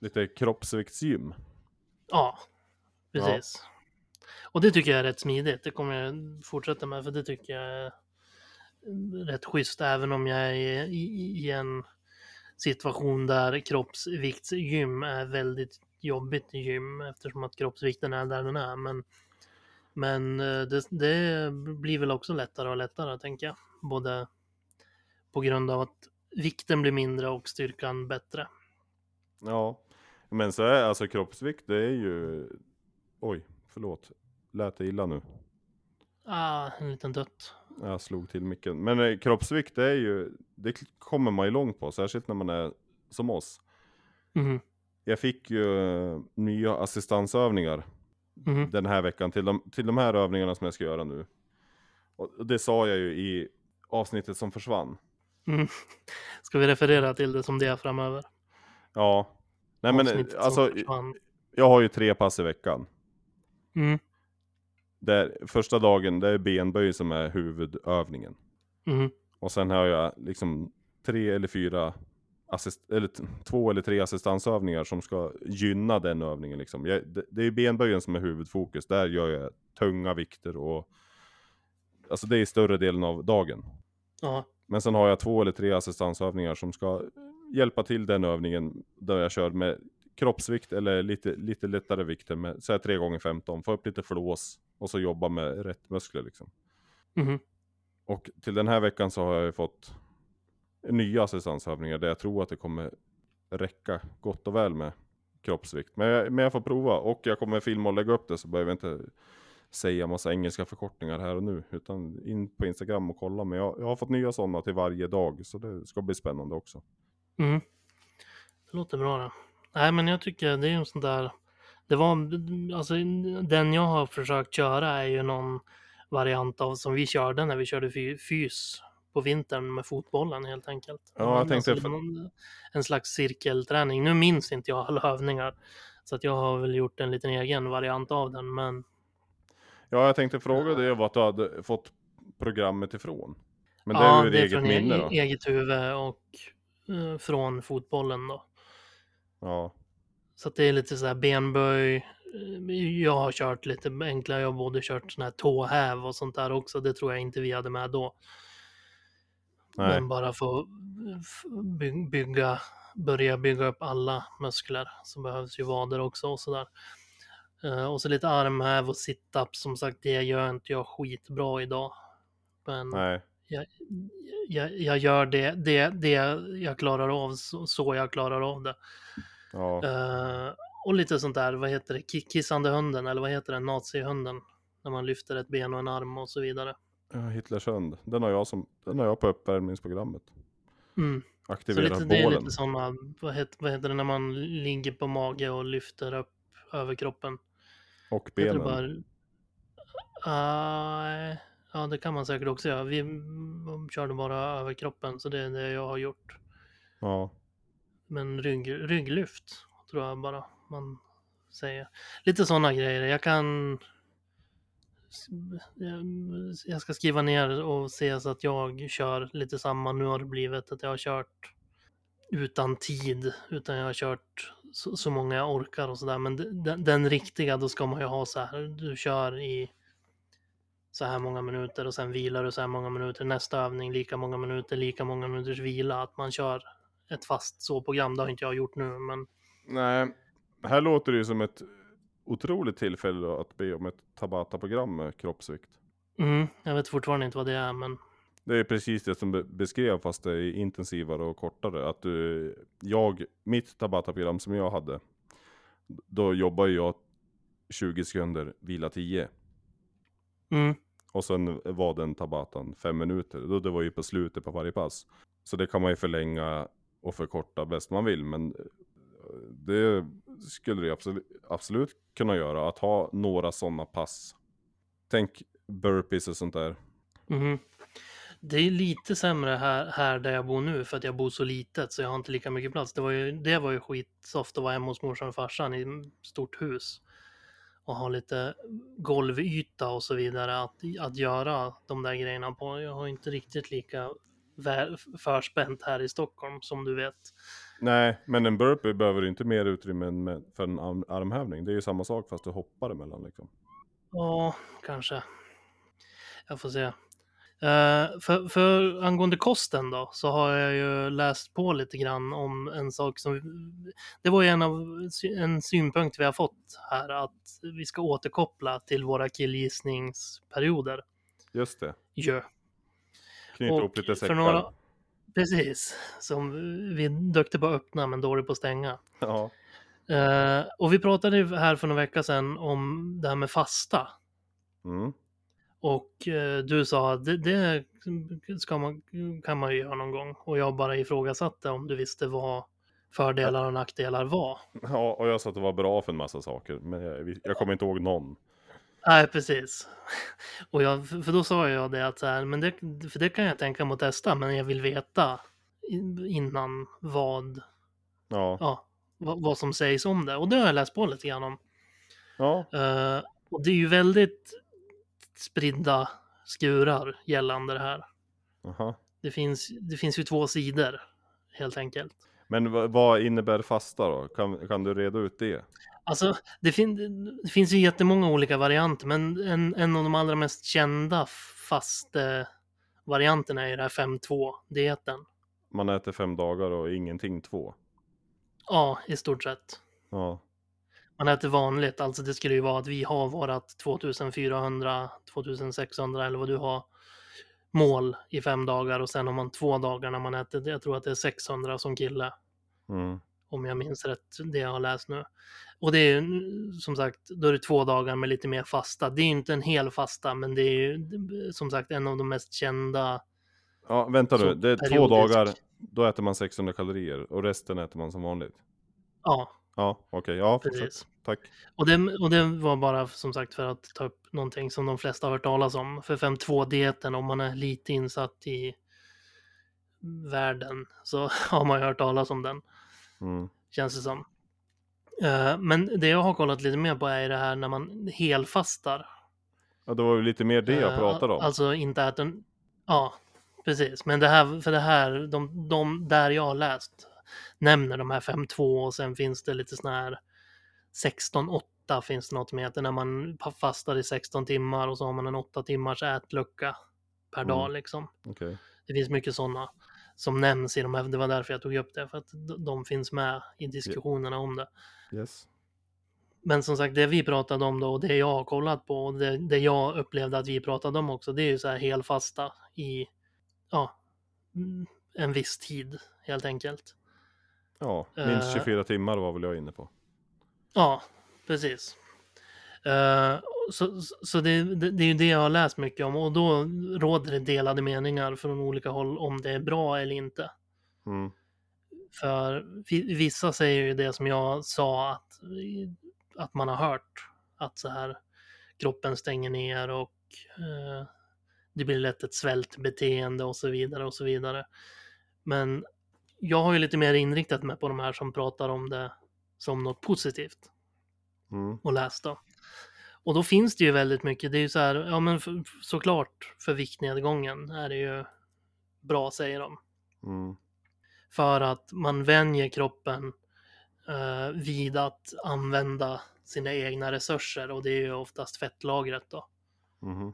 [SPEAKER 2] Lite kroppsviktsgym.
[SPEAKER 1] Ja, precis. Och det tycker jag är rätt smidigt. Det kommer jag fortsätta med för det tycker jag är rätt schysst även om jag är i, i en situation där kroppsviktsgym är väldigt jobbigt gym eftersom att kroppsvikten är där den är. Men, men eh, det, det blir väl också lättare och lättare tänker jag. Både på grund av att vikten blir mindre och styrkan bättre.
[SPEAKER 2] Ja, men så är alltså kroppsvikt, det är ju... Oj, förlåt. Lät det illa nu?
[SPEAKER 1] Ah, en liten dött.
[SPEAKER 2] Jag slog till micken. Men eh, kroppsvikt, det är ju... Det k- kommer man ju långt på, särskilt när man är som oss.
[SPEAKER 1] Mhm,
[SPEAKER 2] Jag fick ju eh, nya assistansövningar
[SPEAKER 1] mhm.
[SPEAKER 2] den här veckan till de, till de här övningarna som jag ska göra nu. Och det sa jag ju i avsnittet som försvann.
[SPEAKER 1] Mm. Ska vi referera till det som det är framöver?
[SPEAKER 2] Ja. Nej men eh,
[SPEAKER 1] Avsnittet som
[SPEAKER 2] alltså,
[SPEAKER 1] försvann.
[SPEAKER 2] jag har ju tre pass i veckan.
[SPEAKER 1] Mm,
[SPEAKER 2] Där, första dagen, det är benböj som är huvudövningen.
[SPEAKER 1] mm,
[SPEAKER 2] Och sen har jag liksom tre eller fyra, assist, eller t- två eller tre assistansövningar som ska gynna den övningen. Liksom. Jag, det, det är ju benböjen som är huvudfokus. Där gör jag tunga vikter och alltså det är större delen av dagen.
[SPEAKER 1] ja,
[SPEAKER 2] Men sen har jag två eller tre assistansövningar som ska hjälpa till den övningen där jag kör med kroppsvikt eller lite, lite lättare vikter med så här 3 gånger 15 få upp lite flås och så jobba med rätt muskler liksom.
[SPEAKER 1] mhm,
[SPEAKER 2] Och till den här veckan så har jag ju fått nya assistansövningar där jag tror att det kommer räcka gott och väl med kroppsvikt. Men jag, men jag får prova och jag kommer filma och lägga upp det så behöver jag inte säga massa engelska förkortningar här och nu utan in på Instagram och kolla. Men jag, jag har fått nya sådana till varje dag så det ska bli spännande också.
[SPEAKER 1] mhm. Det låter bra det. Nej, men jag tycker det är en sån där... Det var, alltså, den jag har försökt köra är ju någon variant av som vi körde när vi körde fy- fys på vintern med fotbollen helt enkelt.
[SPEAKER 2] Ja, jag tänkte-
[SPEAKER 1] Alltså, någon- en slags cirkelträning. Nu minns inte jag alla övningar, så att jag har väl gjort en liten egen variant av den, men
[SPEAKER 2] Ja, jag tänkte fråga dig vad du hade fått programmet ifrån. Men det är
[SPEAKER 1] ja,
[SPEAKER 2] ur
[SPEAKER 1] det är
[SPEAKER 2] eget
[SPEAKER 1] från
[SPEAKER 2] minne
[SPEAKER 1] e-
[SPEAKER 2] då?
[SPEAKER 1] eget huvud och eh, från fotbollen då.
[SPEAKER 2] Ja,
[SPEAKER 1] Så att det är lite så här benböj. Eh, Jag har kört lite enklare. Jag har både kört sån här tåhäv och sånt där också. Det tror jag inte vi hade med då.
[SPEAKER 2] nej.
[SPEAKER 1] Men bara för att f- by- bygga, börja bygga upp alla muskler så behövs ju vader också och sådär. Eh, och så lite armhäv och sit-up. Som sagt, det gör inte jag skitbra idag. Men
[SPEAKER 2] Nej.
[SPEAKER 1] jag, jag gör det, det, det jag klarar av så, så jag klarar av det.
[SPEAKER 2] Ja.
[SPEAKER 1] Eh, och lite sånt där, vad heter det, Ki- kissande hunden eller vad heter det, nazihunden. När man lyfter ett ben och en arm och så vidare.
[SPEAKER 2] Ja, Hitlers hund. Den har jag, som, den har jag på uppvärmningsprogrammet.
[SPEAKER 1] Mm. Så
[SPEAKER 2] Aktivera
[SPEAKER 1] lite, det är
[SPEAKER 2] bålen.
[SPEAKER 1] lite sådana, vad heter, vad heter det när man ligger på mage och lyfter upp överkroppen?
[SPEAKER 2] Och
[SPEAKER 1] Heter det
[SPEAKER 2] benen.
[SPEAKER 1] bara- Nej, ah, ja, det kan man säkert också göra. Vi mm, körde bara överkroppen, så det är det jag har gjort.
[SPEAKER 2] Ja.
[SPEAKER 1] Men rygg, rygglyft tror jag bara man säger. Lite sådana grejer. Jag kan... Jag ska skriva ner och se så att jag kör lite samma. Nu har det blivit att jag har kört utan tid, utan jag har kört så, så många jag orkar och sådär. Men de- den, den riktiga, då ska man ju ha så här. Du kör i så här många minuter och sen vilar du så här många minuter. Nästa övning, lika många minuter, lika många minuters vila. Att man kör ett fast så program. Det har inte jag gjort nu, men
[SPEAKER 2] Nej. Här låter det ju som ett otroligt tillfälle att be om ett Tabata-program med kroppsvikt.
[SPEAKER 1] mm, jag vet fortfarande inte vad det är. Men
[SPEAKER 2] Det är precis det som be- beskrev fast det är intensivare och kortare. Att du, jag, mitt Tabata-program som jag hade, då jobbar jag 20 sekunder, vila 10.
[SPEAKER 1] mm,
[SPEAKER 2] Och sen var den Tabatan 5 minuter. Då det var ju på slutet på varje pass. Så det kan man ju förlänga och förkorta bäst man vill. Men eh, det skulle det absolut, absolut kunna göra. Att ha några sådana pass. Tänk burpees och sånt där.
[SPEAKER 1] mhm. det är lite sämre här, här där jag bor nu för att jag bor så litet så jag har inte lika mycket plats. Det var ju, det var ju skitsoft att vara hemma hos morsan och farsan i ett stort hus och ha lite golvyta och så vidare att, att göra de där grejerna på. Jag har inte riktigt lika väl förspänt här i Stockholm som du vet.
[SPEAKER 2] Nej, men en burpee behöver ju inte mer utrymme än med, för en arm, armhävning. Det är ju samma sak fast du hoppar emellan liksom.
[SPEAKER 1] Ja, kanske. Jag får se. Eh, för, för angående kosten då, så har jag ju läst på lite grann om en sak som... Det var ju en, av, en synpunkt vi har fått här, att vi ska återkoppla till våra killgissningsperioder.
[SPEAKER 2] Just det.
[SPEAKER 1] Ja.
[SPEAKER 2] Knyta
[SPEAKER 1] Och
[SPEAKER 2] ihop lite
[SPEAKER 1] för
[SPEAKER 2] säckar.
[SPEAKER 1] några- Precis, som vi är duktiga på att öppna men dåliga på att stänga.
[SPEAKER 2] Ja.
[SPEAKER 1] Eh, och vi pratade ju här för några veckor sedan om det här med fasta.
[SPEAKER 2] Mm.
[SPEAKER 1] Och eh, du sa att det, det ska man, kan man ju göra någon gång. Och jag bara ifrågasatte om du visste vad fördelar och nackdelar var.
[SPEAKER 2] ja, och jag sa att det var bra för en massa saker. Men jag, jag kommer inte ihåg någon.
[SPEAKER 1] Nej, precis. Och jag, för då sa jag det att så här, men det, för det kan jag tänka mig att testa, men jag vill veta i- innan vad,
[SPEAKER 2] Ja.
[SPEAKER 1] ja, vad, vad som sägs om det. Och det har jag läst på lite grann om.
[SPEAKER 2] Ja,
[SPEAKER 1] Eh, och det är ju väldigt spridda skurar gällande det här.
[SPEAKER 2] aha.
[SPEAKER 1] Det finns, det finns ju två sidor helt enkelt.
[SPEAKER 2] Men v- vad innebär fasta då? Kan, kan du reda ut det?
[SPEAKER 1] Alltså, det, fin- det finns ju jättemånga olika varianter, men en, en av de allra mest kända fast eh, varianterna är ju det här 5-2-dieten.
[SPEAKER 2] Man äter fem dagar och ingenting två.
[SPEAKER 1] Ja, i stort sett.
[SPEAKER 2] Ja,
[SPEAKER 1] Man äter vanligt, alltså det skulle ju vara att vi har vårat 2400, 2600 eller vad du har mål i fem dagar och sen har man två dagar när man äter, jag tror att det är 600 som kille.
[SPEAKER 2] mm.
[SPEAKER 1] om jag minns rätt, det jag har läst nu. Och det är ju mm, som sagt, då är det två dagar med lite mer fasta. Det är ju inte en hel fasta, men det är ju d- som sagt en av de mest kända.
[SPEAKER 2] ja vänta nu.
[SPEAKER 1] Så
[SPEAKER 2] Det är två
[SPEAKER 1] periodisk.
[SPEAKER 2] dagar, då äter man 600 kalorier och resten äter man som vanligt.
[SPEAKER 1] Ja,
[SPEAKER 2] Ja, okej. Ja, fortsätt.
[SPEAKER 1] precis.
[SPEAKER 2] Tack.
[SPEAKER 1] Och det, och det var bara som sagt för att ta upp någonting som de flesta har hört talas om. För 5.2-dieten, om man är lite insatt i världen så har man ju hört talas om den.
[SPEAKER 2] Mm.
[SPEAKER 1] känns det som. Eh, Men det jag har kollat lite mer på är det här när man helfastar.
[SPEAKER 2] Ja, det var ju lite mer det jag
[SPEAKER 1] Eh,
[SPEAKER 2] pratade om.
[SPEAKER 1] Alltså inte äter... en- Ja, precis. Men det här, för det här, de, de där jag har läst nämner de här 5-2 och sen finns det lite sådana här 16-8 finns det något som heter när man pa- fastar i 16 timmar och så har man en 8 timmars ätlucka per
[SPEAKER 2] Mm.
[SPEAKER 1] dag liksom.
[SPEAKER 2] Okej.
[SPEAKER 1] Det finns mycket sådana som nämns i de här, det var därför jag tog upp det, för att de- de finns med i diskussionerna om det.
[SPEAKER 2] Yes.
[SPEAKER 1] Men som sagt, det vi pratade om då och det jag har kollat på och det, det jag upplevde att vi pratade om också, det är ju så här helfasta i ja, mm, en viss tid helt enkelt.
[SPEAKER 2] Ja, minst
[SPEAKER 1] Eh.
[SPEAKER 2] 24 timmar var väl jag inne på.
[SPEAKER 1] Ja, precis. Eh, så så- så det, det, det är ju det jag har läst mycket om och då råder det delade meningar från olika håll om det är bra eller inte.
[SPEAKER 2] Mm.
[SPEAKER 1] För vi- vissa säger ju det som jag sa att, att man har hört. Att så här kroppen stänger ner och eh, det blir lätt ett svältbeteende och så vidare och så vidare. Men jag har ju lite mer inriktat mig på de här som pratar om det som något positivt
[SPEAKER 2] Mm.
[SPEAKER 1] och läst då. Och då finns det ju väldigt mycket. Det är ju så här, ja men för, såklart för viktnedgången är det ju bra säger de
[SPEAKER 2] Mm.
[SPEAKER 1] för att man vänjer kroppen eh, vid att använda sina egna resurser och det är ju oftast fettlagret då
[SPEAKER 2] Mhm.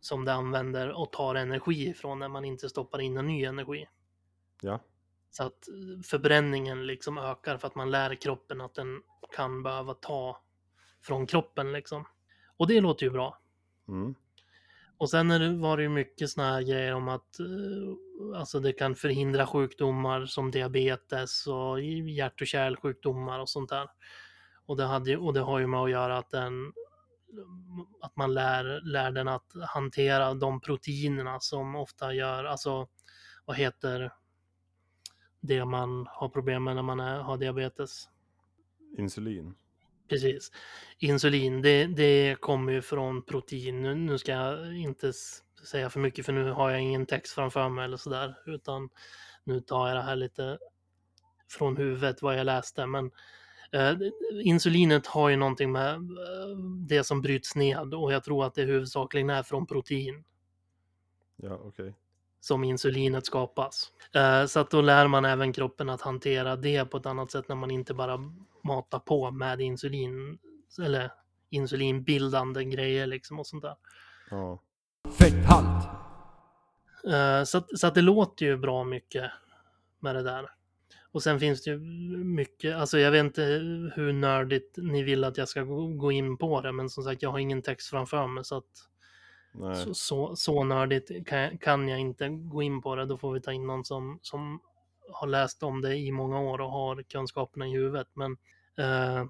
[SPEAKER 1] som det använder och tar energi ifrån när man inte stoppar in en ny energi.
[SPEAKER 2] Ja.
[SPEAKER 1] Så att eh, förbränningen liksom ökar för att man lär kroppen att den kan behöva ta från kroppen liksom. Och det låter ju bra.
[SPEAKER 2] Mm.
[SPEAKER 1] Och sen är det, var det ju mycket såna här grejer om att eh, alltså det kan förhindra sjukdomar som diabetes och hjärt och kärlsjukdomar och sånt där. Och det, hade, ju- och det har ju med att göra att, den, att man lär, lär den att hantera de proteinerna som ofta gör, alltså vad heter det man har problem med när man är, har diabetes?
[SPEAKER 2] Insulin.
[SPEAKER 1] Precis. Insulin, det, det kommer ju från protein. Nu, nu ska jag inte s- säga för mycket för nu har jag ingen text framför mig eller sådär. Utan nu tar jag det här lite från huvudet vad jag läste. Men eh, insulinet har ju någonting med eh, det som bryts ned och jag tror att det huvudsakligen är från protein
[SPEAKER 2] Ja, okej.
[SPEAKER 1] som insulinet skapas. Eh, så att då lär man även kroppen att hantera det på ett annat sätt när man inte bara matar på med insulin eller insulinbildande grejer liksom och sånt där.
[SPEAKER 2] Ja.
[SPEAKER 3] Fetthalt.
[SPEAKER 1] Eh, så att, så att det låter ju bra mycket med det där. Och sen finns det ju mycket, alltså jag vet inte hur nördigt ni vill att jag ska gå gå in på det, men som sagt jag har ingen text framför mig så att
[SPEAKER 2] Nej.
[SPEAKER 1] Så, så, så nördigt kan jag, kan jag inte gå in på det. Då får vi ta in någon som, som har läst om det i många år och har kunskaperna i huvudet. Men eh,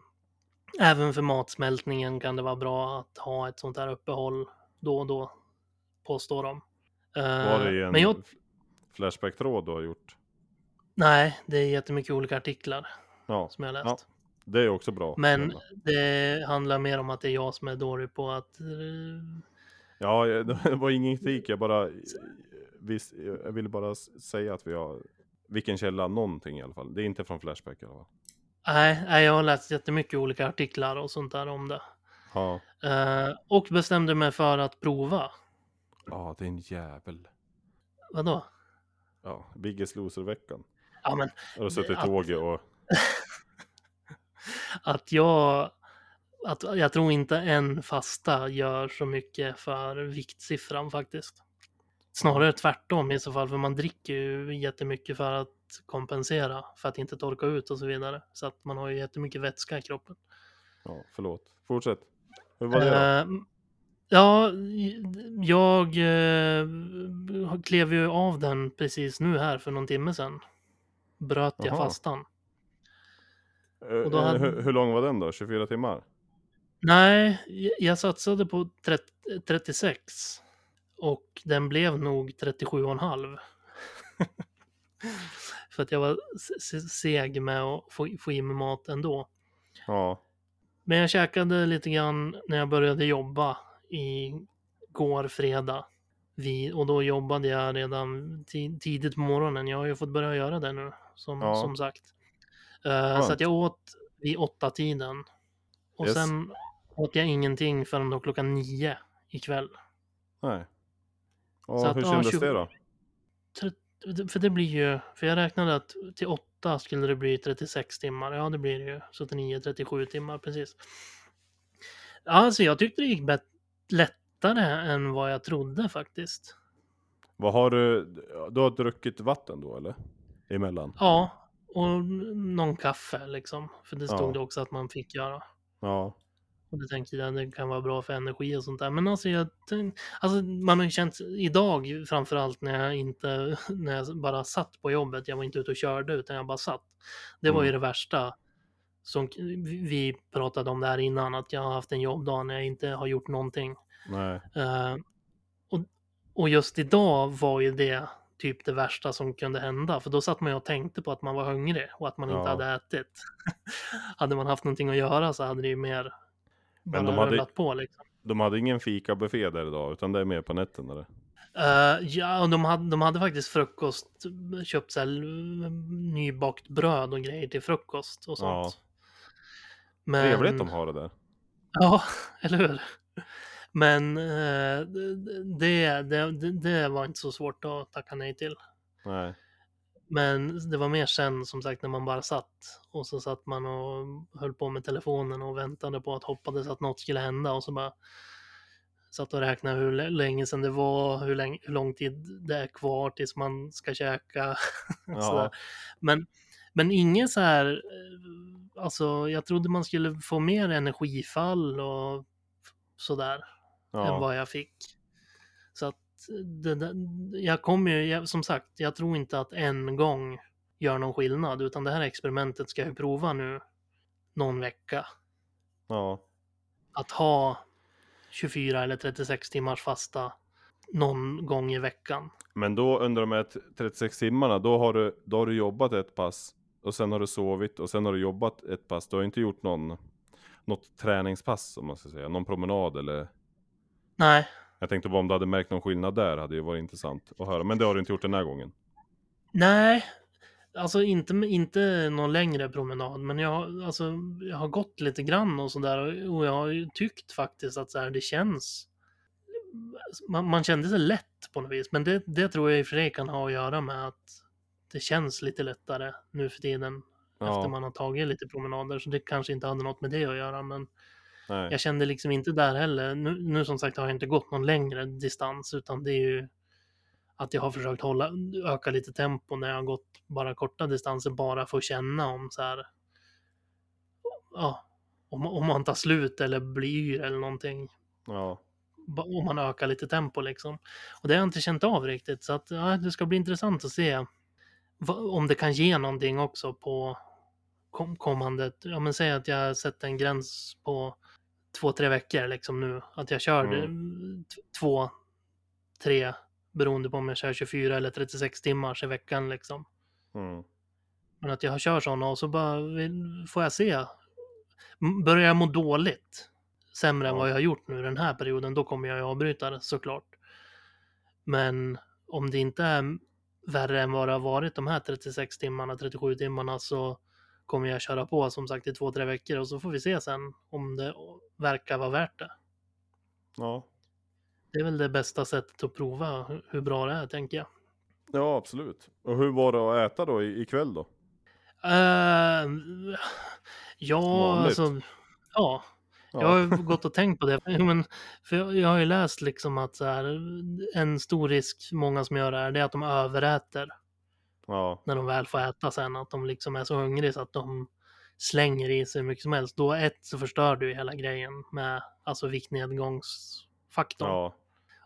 [SPEAKER 1] även för matsmältningen kan det vara bra att ha ett sånt här uppehåll då och då, påstår de. Eh,
[SPEAKER 2] Var det i en
[SPEAKER 1] men jag,
[SPEAKER 2] f- Flashback-tråd du har gjort?
[SPEAKER 1] nej, det är jättemycket olika artiklar
[SPEAKER 2] Ja,
[SPEAKER 1] som jag läst.
[SPEAKER 2] Ja. det är också bra.
[SPEAKER 1] Men det handlar mer om att det är jag som är dålig på att... eh,
[SPEAKER 2] Ja, jag- det var ingen kritik, jag bara visst, jag ville bara s- säga att vi har vilken källa, någonting i alla fall. Det är inte från Flashback i alla fall.
[SPEAKER 1] Nej, nej, jag har läst jättemycket olika artiklar och sånt där om det.
[SPEAKER 2] Ja,
[SPEAKER 1] Eh, och bestämde mig för att prova.
[SPEAKER 2] ja det är en jävel.
[SPEAKER 1] Vadå?
[SPEAKER 2] Ja, Biggest Loser-veckan.
[SPEAKER 1] Ja, men
[SPEAKER 2] Jag har suttit i
[SPEAKER 1] att-
[SPEAKER 2] tåget och...
[SPEAKER 1] att jag... Att jag tror inte en fasta gör så mycket för viktsiffran faktiskt. Snarare tvärtom i så fall, för man dricker ju jättemycket för att kompensera, för att inte torka ut och så vidare. Så att man har ju jättemycket vätska i kroppen.
[SPEAKER 2] Ja, förlåt. Fortsätt. Hur var det
[SPEAKER 1] Eh, Ja, jag eh, klev ju av den precis nu här för någon timme sedan. Bröt jag
[SPEAKER 2] Jaha.
[SPEAKER 1] fastan.
[SPEAKER 2] då? Eh,
[SPEAKER 1] och då hade-
[SPEAKER 2] hur, hur lång var den då? 24 timmar?
[SPEAKER 1] Nej, j- jag satsade på 30, 36 och den blev nog 37,5. För att jag var s- s- seg med att få, få i mig mat ändå.
[SPEAKER 2] Ja,
[SPEAKER 1] Men jag käkade lite grann när jag började jobba i går fredag. Vi, och då jobbade jag redan ti- tidigt på morgonen. Jag har ju fått börja göra det nu, som,
[SPEAKER 2] Ja.
[SPEAKER 1] som sagt. Eh, så att jag åt vid åtta tiden. Och
[SPEAKER 2] Yes.
[SPEAKER 1] sen åt jag ingenting förrän då klockan nio ikväll.
[SPEAKER 2] nej. Ja,
[SPEAKER 1] Så att,
[SPEAKER 2] hur
[SPEAKER 1] ja,
[SPEAKER 2] kändes
[SPEAKER 1] 20
[SPEAKER 2] det då?
[SPEAKER 1] För det blir ju, för jag räknade att till åtta skulle det bli 36 timmar. Ja, det blir det ju. Så till nio, 37 timmar, precis. Ja, Alltså jag tyckte det gick bet- lättare än vad jag trodde faktiskt.
[SPEAKER 2] Vad har du... Du har druckit vatten då eller? Emellan?
[SPEAKER 1] Ja, och någon kaffe liksom. För det stod
[SPEAKER 2] Ja.
[SPEAKER 1] det också att man fick göra.
[SPEAKER 2] Ja.
[SPEAKER 1] Och det tänker jag det kan vara bra för energi och sånt där. Men alltså, jag, tänk- alltså man har ju känt idag framförallt när jag inte, när jag bara satt på jobbet. Jag var inte ute och körde utan jag bara satt. Det var ju det värsta som vi pratade om där innan, att jag har haft en jobbdag när jag inte har gjort någonting.
[SPEAKER 2] Nej.
[SPEAKER 1] Eh, och, och just idag var ju det typ det värsta som kunde hända, för då satt man ju och tänkte på att man var hungrig och att man inte
[SPEAKER 2] Ja.
[SPEAKER 1] hade ätit. hade man haft någonting att göra så hade det ju mer bara
[SPEAKER 2] Men de hade-
[SPEAKER 1] rullat på liksom.
[SPEAKER 2] De hade ingen fikabuffé där idag, utan det är mer på nätterna det.
[SPEAKER 1] Eh, ja, och de hade, de hade faktiskt frukost, köpt så här, eh, nybakt bröd och grejer till frukost och sånt.
[SPEAKER 2] Ja.
[SPEAKER 1] Men...
[SPEAKER 2] Trevligt de har det där.
[SPEAKER 1] Ja, eller hur? Men eh, det, det, det, det var inte så svårt att tacka nej till.
[SPEAKER 2] Nej.
[SPEAKER 1] Men det var mer sen som sagt när man bara satt och så satt man och höll på med telefonen och väntade på att hoppades att något skulle hända och så bara satt och räknade hur l- länge sedan det var, hur, länge, hur lång tid det är kvar tills man ska käka. och sådär.
[SPEAKER 2] Ja.
[SPEAKER 1] Men, men inget så här, eh, alltså jag trodde man skulle få mer energifall och f- sådär än
[SPEAKER 2] Ja.
[SPEAKER 1] vad jag fick. Så att det, där- jag kommer ju, jag, som sagt, jag tror inte att en gång gör någon skillnad, utan det här experimentet ska jag ju prova nu någon vecka.
[SPEAKER 2] ja.
[SPEAKER 1] Att ha 24 eller 36 timmars fasta någon gång i veckan.
[SPEAKER 2] Men då under de här t- 36 timmarna, då har, du, då har du jobbat ett pass. Och sen har du sovit och sen har du jobbat ett pass. Du har inte gjort någon, något träningspass om man ska säga. Någon promenad eller...
[SPEAKER 1] Nej,
[SPEAKER 2] Jag tänkte bara om du hade märkt någon skillnad där hade ju varit intressant att höra. Men det har du inte gjort den här gången.
[SPEAKER 1] nej, alltså inte, inte någon längre promenad, men jag, har- alltså, jag har gått lite grann och sådär och jag har ju tyckt faktiskt att så här, det känns man, man kände sig lätt på något vis. Men det, det tror jag i och för sig kan ha att göra med att det känns lite lättare nu för tiden. Efter man har tagit lite promenader. Så det kanske inte hade något med det att göra. Men
[SPEAKER 2] nej.
[SPEAKER 1] jag kände liksom inte där heller. Nu, nu som sagt har jag inte gått någon längre distans. Utan det är ju att jag har försökt hålla, öka lite tempo när jag har gått bara korta distanser. Bara för att känna om så här. Ja, om, om man tar slut eller blir yr eller någonting
[SPEAKER 2] Ja.
[SPEAKER 1] ba- om man ökar lite tempo liksom. Och det har jag inte känt av riktigt så att ja, det ska bli intressant att se va- om det kan ge någonting också på kom kommande. Ja men säg att jag sätter en gräns på två, tre veckor liksom nu. Att jag kör
[SPEAKER 2] Mm.
[SPEAKER 1] mm. två, tre beroende på om jag kör 24 eller 36 timmars i veckan liksom.
[SPEAKER 2] Mm.
[SPEAKER 1] Men att jag kör sådana och så bara vill- får jag se. M- Börjar jag må dåligt, sämre än
[SPEAKER 2] Ja.
[SPEAKER 1] vad jag har gjort nu den här perioden, då kommer jag ju avbryta det såklart. Men om det inte är värre än vad det har varit de här 36 timmarna, 37 timmarna så kommer jag köra på som sagt i två, tre veckor och så får vi se sen om det verkar vara värt det.
[SPEAKER 2] Ja.
[SPEAKER 1] Det är väl det bästa sättet att prova hu- hur bra det är, tänker jag.
[SPEAKER 2] Ja, absolut. Och hur var det att äta då i- ikväll då?
[SPEAKER 1] Eh, ja,
[SPEAKER 2] Vanligt.
[SPEAKER 1] alltså. Ja,
[SPEAKER 2] Ja.
[SPEAKER 1] jag har ju gått och tänkt på det. Jo, Men, för jag, jag har ju läst liksom att så här, en stor risk många som gör det här, det är att de överäter
[SPEAKER 2] Ja.
[SPEAKER 1] när de väl får äta sen. Att de liksom är så hungriga så att de slänger i sig hur mycket som helst. Då ett så förstör du ju hela grejen med alltså viktnedgångsfaktorn.
[SPEAKER 2] Ja.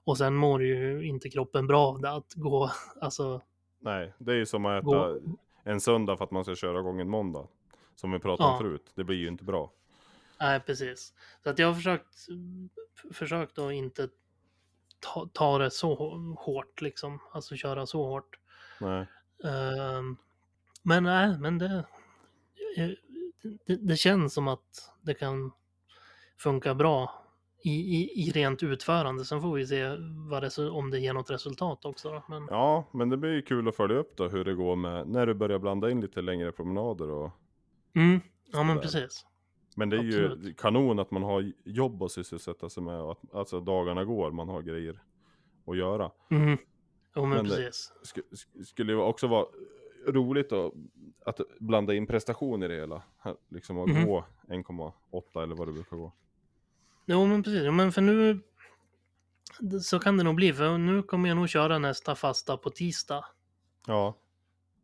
[SPEAKER 1] Och sen mår ju inte kroppen bra av det att gå, alltså
[SPEAKER 2] Nej, det är ju som att äta
[SPEAKER 1] Gå-
[SPEAKER 2] en söndag för att man ska köra igång en måndag. Som vi pratade om
[SPEAKER 1] Ja.
[SPEAKER 2] förut. Det blir ju inte bra.
[SPEAKER 1] Nej, precis. Så att jag har försökt, f- försökt att inte ta, ta det så hå- hårt, liksom. Alltså köra så hårt.
[SPEAKER 2] Nej.
[SPEAKER 1] Ehm, men nej, men det, eh, det, det känns som att det kan funka bra i, i, i rent utförande. Sen får vi se vad det, om det ger något resultat också. Då. Men,
[SPEAKER 2] Ja, men det blir ju kul att följa upp då hur det går med när du börjar blanda in lite längre promenader och
[SPEAKER 1] mm, ja, men
[SPEAKER 2] Sådär.
[SPEAKER 1] precis.
[SPEAKER 2] Men det är ju
[SPEAKER 1] Absolut.
[SPEAKER 2] kanon att man har jobb att sysselsätta sig med och att alltså dagarna går, man har grejer att göra.
[SPEAKER 1] Mm. Jo, men,
[SPEAKER 2] Men det-
[SPEAKER 1] precis.
[SPEAKER 2] Sk sk- skulle ju också vara roligt då, att blanda in prestation i det hela. Här, liksom att
[SPEAKER 1] Mhm.
[SPEAKER 2] gå 1,8 eller vad det brukar gå.
[SPEAKER 1] Jo, men precis. Jo, Men för nu så kan det nog bli. För nu kommer jag nog köra nästa fasta på tisdag,
[SPEAKER 2] Ja,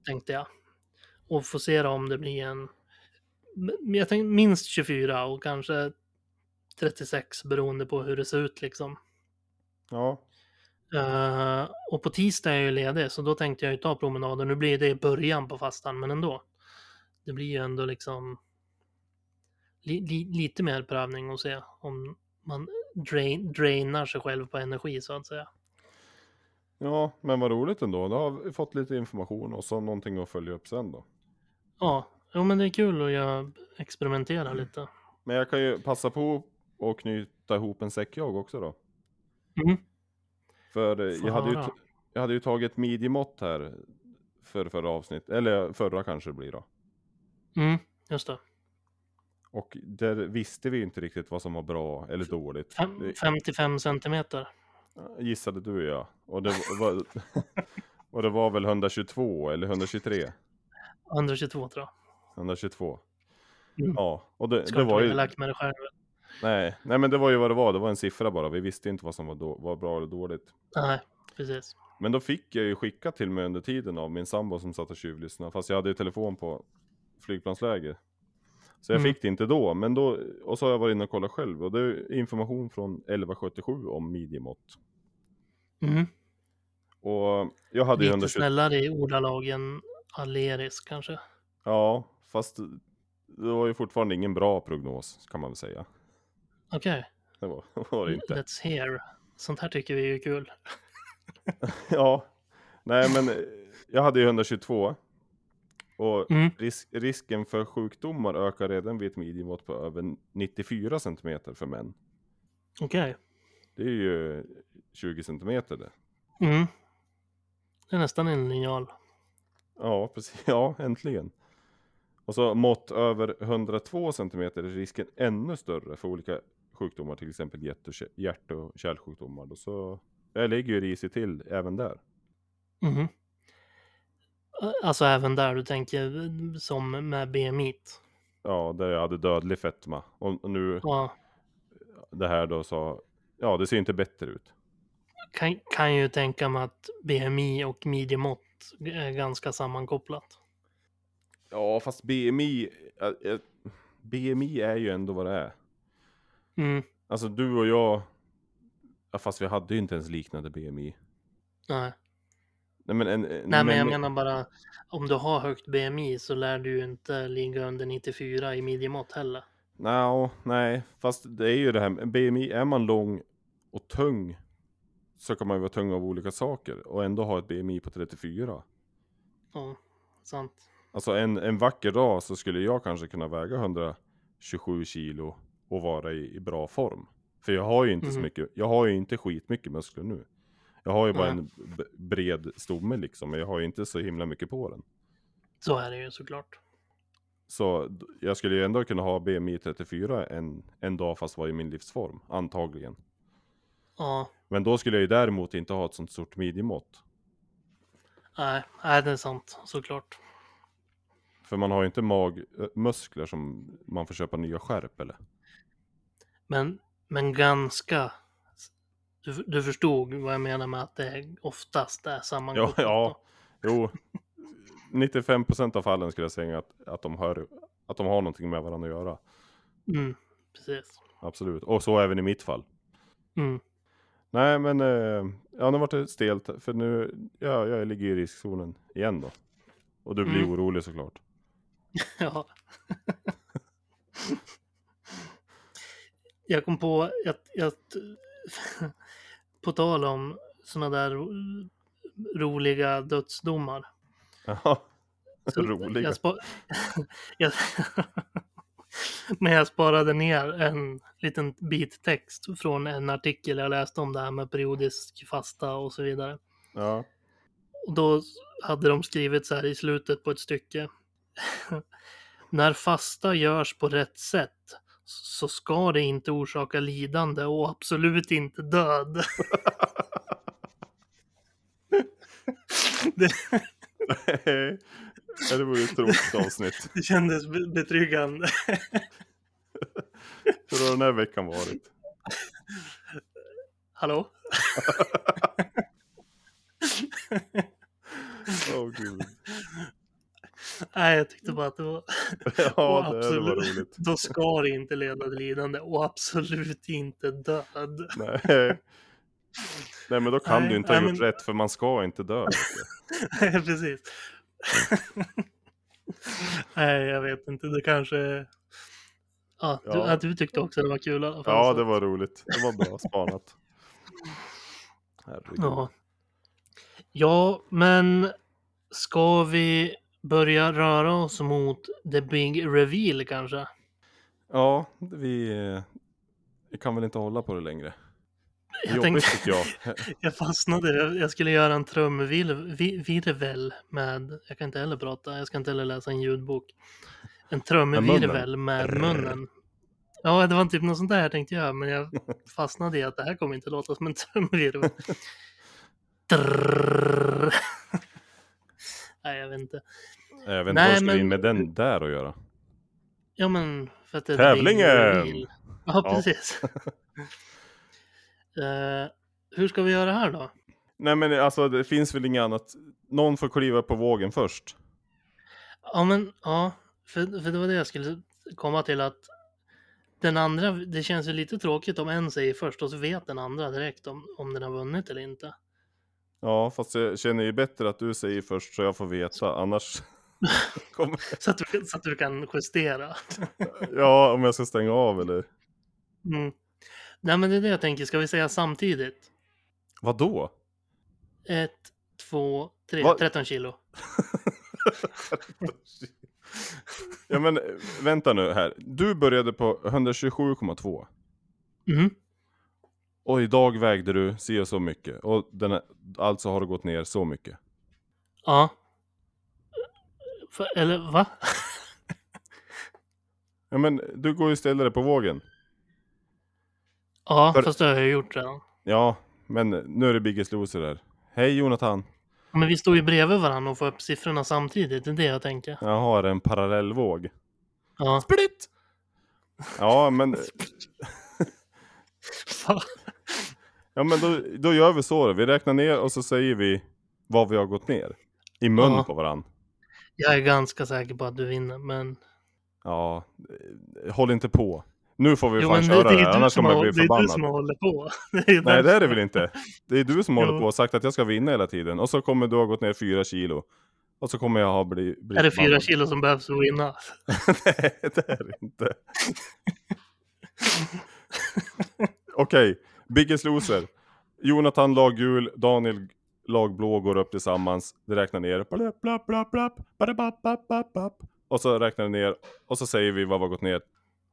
[SPEAKER 1] tänkte jag. Och få se då om det blir en Men jag tänkte minst 24 och kanske 36 beroende på hur det ser ut liksom.
[SPEAKER 2] Ja,
[SPEAKER 1] Eh, och på tisdag är jag ju ledig, så då tänkte jag ju ta promenaden. Nu blir det i början på fastan, men ändå. Det blir ju ändå liksom li, li, lite mer prövning och se om man drain, drainar sig själv på energi så att säga.
[SPEAKER 2] ja, men vad roligt ändå. Då har vi fått lite information och så någonting att följa upp sen då.
[SPEAKER 1] Ja, jo, men det är kul att jag experimenterar lite.
[SPEAKER 2] Men jag kan ju passa på och knyta ihop en säck jag också då.
[SPEAKER 1] Mm.
[SPEAKER 2] För eh,
[SPEAKER 1] Få
[SPEAKER 2] jag hade, ju,
[SPEAKER 1] höra.
[SPEAKER 2] t- jag hade ju tagit midjemått här för förra avsnitt, eller förra kanske det blir då.
[SPEAKER 1] Mm, just det.
[SPEAKER 2] Och där visste vi ju inte riktigt vad som var bra eller dåligt.
[SPEAKER 1] Fem, 55 centimeter.
[SPEAKER 2] Det gissade du och jag. Och det var, och det var väl 122 eller 123?
[SPEAKER 1] 122 tror
[SPEAKER 2] 122.
[SPEAKER 1] Mm.
[SPEAKER 2] Ja, och det,
[SPEAKER 1] jag. Ska
[SPEAKER 2] det
[SPEAKER 1] inte
[SPEAKER 2] var
[SPEAKER 1] vara
[SPEAKER 2] ju...
[SPEAKER 1] elak med det själv.
[SPEAKER 2] Nej, nej, men det var ju vad det var. Det var en siffra bara. Vi visste inte vad som var, då, var bra eller dåligt.
[SPEAKER 1] Nej, precis.
[SPEAKER 2] Men då fick jag ju skicka till mig under tiden av min sambo som satt och tjuvlyssnade. Fast jag hade ju telefon på flygplansläge. Så jag
[SPEAKER 1] Mm.
[SPEAKER 2] fick det inte då. Men då, och så har jag varit inne och kollat själv. Och det är information från 1177 om midjemått.
[SPEAKER 1] Mm.
[SPEAKER 2] Och jag hade ju
[SPEAKER 1] Lite
[SPEAKER 2] 120...
[SPEAKER 1] snällare i ordalag än Aleris kanske.
[SPEAKER 2] Ja, fast det var ju fortfarande ingen bra prognos kan man väl säga.
[SPEAKER 1] Okej,
[SPEAKER 2] Det var, var det inte.
[SPEAKER 1] let's hear. Sånt här tycker vi är kul.
[SPEAKER 2] Ja, nej men eh, jag hade ju 122. Och
[SPEAKER 1] Mm.
[SPEAKER 2] risk, risken för sjukdomar ökar redan vid ett midjemått på över 94 cm för män.
[SPEAKER 1] Okej.
[SPEAKER 2] Det är ju 20 cm det.
[SPEAKER 1] Mm. Det är nästan en linjal.
[SPEAKER 2] Ja, precis. Ja, äntligen. Och så mått över 102 cm är risken ännu större för olika sjukdomar, till exempel hjärt och, kä- hjärt och kärlsjukdomar. Då så jag ligger ju risigt till även där.
[SPEAKER 1] Mhm. Alltså även där du tänker som med BMI.
[SPEAKER 2] Ja, där jag hade dödlig fetma. Och och nu
[SPEAKER 1] Ja,
[SPEAKER 2] det här då så, ja det ser inte bättre ut.
[SPEAKER 1] kan, kan ju tänka mig att BMI och midjemått är ganska sammankopplat.
[SPEAKER 2] Ja, fast BMI, eh, eh, BMI är ju ändå vad det är.
[SPEAKER 1] Mm.
[SPEAKER 2] Alltså du och jag, ja, fast vi hade ju inte ens liknande BMI.
[SPEAKER 1] Nej.
[SPEAKER 2] Nej men, en, en,
[SPEAKER 1] Nej, men jag menar bara om du har högt BMI så lär du ju inte ligga under 94 i midjemått heller.
[SPEAKER 2] Nja, nej, fast det är ju det här med BMI, är man lång och tung så kan man ju vara tung av olika saker och ändå ha ett BMI på 34.
[SPEAKER 1] Ja, sant.
[SPEAKER 2] Alltså en, en vacker dag så skulle jag kanske kunna väga 127 kilo och vara i, i bra form. För jag har ju inte så
[SPEAKER 1] Mhm.
[SPEAKER 2] mycket, jag har ju inte skitmycket muskler nu. Jag har ju bara
[SPEAKER 1] Nej.
[SPEAKER 2] en b- bred stomme liksom, men jag har ju inte så himla mycket på den.
[SPEAKER 1] Så är det ju såklart.
[SPEAKER 2] Så d- jag skulle ju ändå kunna ha BMI 34 en, en dag fast vara i min livsform, antagligen.
[SPEAKER 1] Ja,
[SPEAKER 2] Men då skulle jag ju däremot inte ha ett sånt stort midjemått.
[SPEAKER 1] nej, nej det är sant såklart.
[SPEAKER 2] För man har ju inte magmuskler som man får köpa nya skärp eller?
[SPEAKER 1] Men, men ganska. Du, du förstod vad jag menar med att det oftast är
[SPEAKER 2] Ja,
[SPEAKER 1] sammankopplat.
[SPEAKER 2] ja. Jo. 95% av fallen skulle jag säga att, att, de hör, att de har någonting med varandra att göra.
[SPEAKER 1] då. Mm, precis.
[SPEAKER 2] Absolut. Och så även i mitt fall.
[SPEAKER 1] Mm,
[SPEAKER 2] Nej men, eh, ja nu vart det stelt. För nu, ja, jag ligger i riskzonen igen då. Och du blir
[SPEAKER 1] Mm.
[SPEAKER 2] orolig såklart.
[SPEAKER 1] ja. jag kom på att, att på tal om sådana där ro- roliga dödsdomar.
[SPEAKER 2] Ja,
[SPEAKER 1] Så
[SPEAKER 2] Roliga.
[SPEAKER 1] Jag spa- jag... Men jag sparade ner en liten bit text från en artikel jag läste om det här med periodisk fasta och så vidare.
[SPEAKER 2] ja,
[SPEAKER 1] Och då hade de skrivit så här i slutet på ett stycke. När fasta görs på rätt sätt så ska det inte orsaka lidande och absolut inte död. det,
[SPEAKER 2] det vore ett tråkigt avsnitt.
[SPEAKER 1] det kändes be- betryggande.
[SPEAKER 2] Hur har den här veckan varit?
[SPEAKER 1] Hallå?
[SPEAKER 2] Åh gud.
[SPEAKER 1] Nej, jag tyckte bara att det var...
[SPEAKER 2] Ja, det, det
[SPEAKER 1] absolut.
[SPEAKER 2] var roligt.
[SPEAKER 1] Då ska det inte leda till lidande och absolut inte död.
[SPEAKER 2] Nej. Nej, men då kan
[SPEAKER 1] Nej,
[SPEAKER 2] du inte ha
[SPEAKER 1] nej,
[SPEAKER 2] gjort
[SPEAKER 1] men-
[SPEAKER 2] rätt för man ska inte dö.
[SPEAKER 1] Nej, precis. Nej, jag vet inte. Det kanske... Ja, du,
[SPEAKER 2] Ja.
[SPEAKER 1] ja. du tyckte också det var kul i alla fall.
[SPEAKER 2] Ja,
[SPEAKER 1] så-
[SPEAKER 2] det var roligt. Det var bra spanat. Herregud.
[SPEAKER 1] Ja. ja, men ska vi börja röra oss mot the big reveal kanske?
[SPEAKER 2] Ja, vi, eh, vi kan väl inte hålla på det längre. Det är
[SPEAKER 1] Jag
[SPEAKER 2] Jobbigt
[SPEAKER 1] tänkte-
[SPEAKER 2] tycker jag.
[SPEAKER 1] Jag fastnade. Jag- Jag skulle göra en trumvirvel med, jag kan inte heller prata, jag ska inte heller läsa en ljudbok. En trumvirvel med munnen. Ja, det var typ något sånt där jag tänkte göra, men jag fastnade i att det här kommer inte låta som en trumvirvel. Trrrr. Nej, jag vet inte.
[SPEAKER 2] Jag vet inte
[SPEAKER 1] Nej,
[SPEAKER 2] vad det skulle
[SPEAKER 1] men-
[SPEAKER 2] in med den där att göra.
[SPEAKER 1] Ja, men för att det
[SPEAKER 2] Tävlingen!
[SPEAKER 1] är en bil. Ja,
[SPEAKER 2] Ja.
[SPEAKER 1] precis. Eh, hur ska vi göra här då?
[SPEAKER 2] Nej men alltså det finns väl inget annat. Någon får kliva på vågen först.
[SPEAKER 1] Ja, men ja, för, för det var det jag skulle komma till att den andra, det känns ju lite tråkigt om en säger först och så vet den andra direkt om, om den har vunnit eller inte.
[SPEAKER 2] Ja fast jag känner ju bättre att du säger först så jag får veta. Annars kommer...
[SPEAKER 1] Så att, du- så att du kan justera.
[SPEAKER 2] Ja om jag ska stänga av eller.
[SPEAKER 1] Mm. Nej, men det är det jag tänker, ska vi säga samtidigt?
[SPEAKER 2] Vadå?
[SPEAKER 1] Ett, två, tre,
[SPEAKER 2] Vad?
[SPEAKER 1] 13 kilo.
[SPEAKER 2] ja men vänta nu här. Du började på 127,2.
[SPEAKER 1] Mm.
[SPEAKER 2] Och idag vägde du si och så mycket. Och den här, alltså har det gått ner så mycket.
[SPEAKER 1] Ja. För, eller va?
[SPEAKER 2] Ja men du går ju ställare på vågen.
[SPEAKER 1] Ja,
[SPEAKER 2] För-
[SPEAKER 1] fast det har jag ju gjort redan.
[SPEAKER 2] Ja, men nu är det Biggest Loser här. Hej Jonathan.
[SPEAKER 1] Men vi står ju bredvid varandra och får upp siffrorna samtidigt, det är det jag tänker.
[SPEAKER 2] Jag har en parallellvåg.
[SPEAKER 1] Ja.
[SPEAKER 2] Split! Ja, men,
[SPEAKER 1] Fan.
[SPEAKER 2] ja, men då, då gör vi så då. Vi räknar ner och så säger vi vad vi har gått ner. I mun
[SPEAKER 1] Ja.
[SPEAKER 2] på varann.
[SPEAKER 1] Jag är ganska säker på att du vinner, men...
[SPEAKER 2] Ja, eh, håll inte på. Nu får vi
[SPEAKER 1] Jo,
[SPEAKER 2] fan
[SPEAKER 1] men det, det
[SPEAKER 2] köra det,
[SPEAKER 1] är
[SPEAKER 2] här,
[SPEAKER 1] ju du
[SPEAKER 2] annars
[SPEAKER 1] som,
[SPEAKER 2] kommer jag
[SPEAKER 1] har,
[SPEAKER 2] bli
[SPEAKER 1] det är du
[SPEAKER 2] förbannad.
[SPEAKER 1] som håller på. Det är
[SPEAKER 2] Nej, det är det
[SPEAKER 1] därför.
[SPEAKER 2] väl inte. Det är du som håller
[SPEAKER 1] Jo.
[SPEAKER 2] på och sagt att jag ska vinna hela tiden. Och så kommer du ha gått ner fyra kilo. Och så kommer jag ha blivit... Bli
[SPEAKER 1] Är det
[SPEAKER 2] förbannad.
[SPEAKER 1] fyra kilo som behövs för att vinna?
[SPEAKER 2] Nej, det är det inte. Okej, Biggest Loser. Jonathan lag gul, Daniel lag blå går upp tillsammans. Det räknar ner. Blapp, blapp, blapp, blapp, badabap, bapp, bapp, bapp. Och så räknar det ner. Och så säger vi vad vi har gått ner.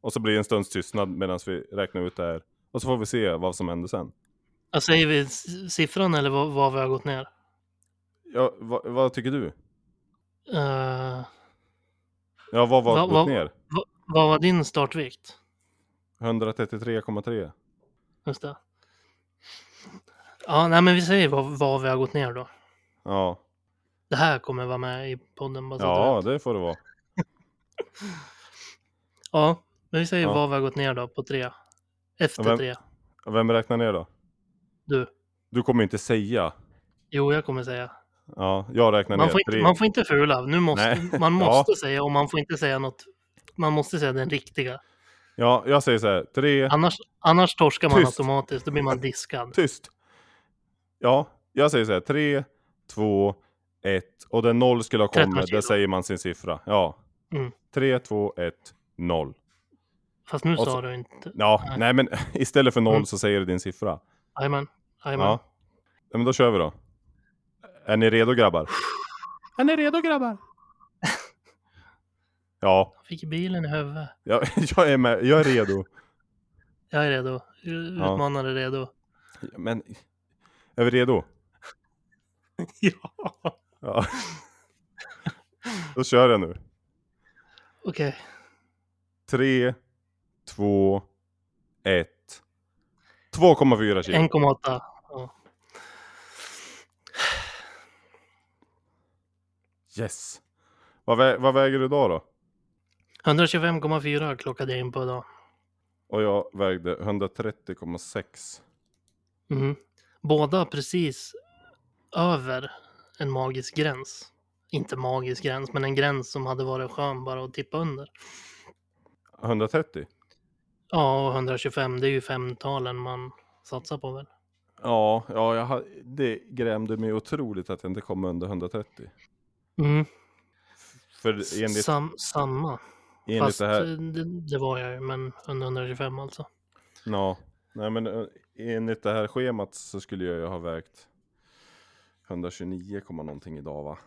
[SPEAKER 2] Och så blir det en stunds tystnad medan vi räknar ut det här. Och så får vi se vad som händer sen.
[SPEAKER 1] Ja, säger vi s- siffran eller vad, vad vi har gått ner?
[SPEAKER 2] Ja, vad, vad tycker du?
[SPEAKER 1] Eh,
[SPEAKER 2] Ja, vad var
[SPEAKER 1] Va-
[SPEAKER 2] gått
[SPEAKER 1] va-
[SPEAKER 2] ner?
[SPEAKER 1] vad var din startvikt?
[SPEAKER 2] 133,3.
[SPEAKER 1] Just det. Ja, nej men vi säger vad, vad vi har gått ner då.
[SPEAKER 2] Ja,
[SPEAKER 1] Det här kommer vara med i podden. Bara så att Alltså, du
[SPEAKER 2] ja
[SPEAKER 1] vet.
[SPEAKER 2] det får det vara.
[SPEAKER 1] ja, men vi säger
[SPEAKER 2] Ja.
[SPEAKER 1] vad vi har gått ner då på tre. Efter
[SPEAKER 2] Ja, men-
[SPEAKER 1] tre.
[SPEAKER 2] Vem räknar ner då?
[SPEAKER 1] Du.
[SPEAKER 2] Du kommer ju inte säga.
[SPEAKER 1] Jo, jag kommer säga.
[SPEAKER 2] Ja, jag räknar
[SPEAKER 1] Man
[SPEAKER 2] ner.
[SPEAKER 1] får, inte,
[SPEAKER 2] Tre.
[SPEAKER 1] man får inte fula. Nu måste,
[SPEAKER 2] Nej.
[SPEAKER 1] man måste säga och man får inte säga något. Man måste säga den riktiga.
[SPEAKER 2] Ja, jag säger så här. Tre.
[SPEAKER 1] Annars, annars torskar man
[SPEAKER 2] Tyst.
[SPEAKER 1] automatiskt. Då blir man diskad.
[SPEAKER 2] Tyst. Ja, jag säger så här. Tre, två, ett. Och den noll skulle ha
[SPEAKER 1] 13
[SPEAKER 2] kommit,
[SPEAKER 1] kilo.
[SPEAKER 2] där säger man sin siffra. Ja.
[SPEAKER 1] Mm.
[SPEAKER 2] Tre, två, ett, noll.
[SPEAKER 1] Fast nu
[SPEAKER 2] Och så-
[SPEAKER 1] sa du inte.
[SPEAKER 2] Ja,
[SPEAKER 1] Nej.
[SPEAKER 2] nej men istället för noll
[SPEAKER 1] Mm.
[SPEAKER 2] så säger du din siffra.
[SPEAKER 1] Jajamän. Jajamän.
[SPEAKER 2] Ja. ja. Men då kör vi då. Är ni redo grabbar? Är ni redo grabbar? ja,
[SPEAKER 1] Jag fick bilen i huvudet.
[SPEAKER 2] jag, jag är med. Jag är redo.
[SPEAKER 1] Jag är redo. Utmanare är redo.
[SPEAKER 2] Men, är vi redo?
[SPEAKER 1] Ja.
[SPEAKER 2] Ja. då kör jag nu.
[SPEAKER 1] Okej.
[SPEAKER 2] Tre, två, ett. 2,4 kilo.
[SPEAKER 1] 1,8. Ja.
[SPEAKER 2] Yes. Vad, vä vad väger du idag då?
[SPEAKER 1] 125,4 klockade jag in på idag.
[SPEAKER 2] Och jag vägde 130,6.
[SPEAKER 1] Mhm. Båda precis över en magisk gräns. inte magisk gräns, men en gräns som hade varit skön bara att tippa under.
[SPEAKER 2] 130?
[SPEAKER 1] Ja, och 125, det är ju femtalen man satsar på väl.
[SPEAKER 2] Ja, ja jag ha, det grämde mig otroligt att jag inte kom under 130.
[SPEAKER 1] Mm,
[SPEAKER 2] För enligt,
[SPEAKER 1] sam, samma.
[SPEAKER 2] enligt
[SPEAKER 1] Fast
[SPEAKER 2] det
[SPEAKER 1] eh,
[SPEAKER 2] här... Mm.
[SPEAKER 1] det, det var jag ju, men under 125 alltså.
[SPEAKER 2] Ja, nej men eh, enligt det här schemat så skulle jag ju ha vägt 129, komma någonting idag va?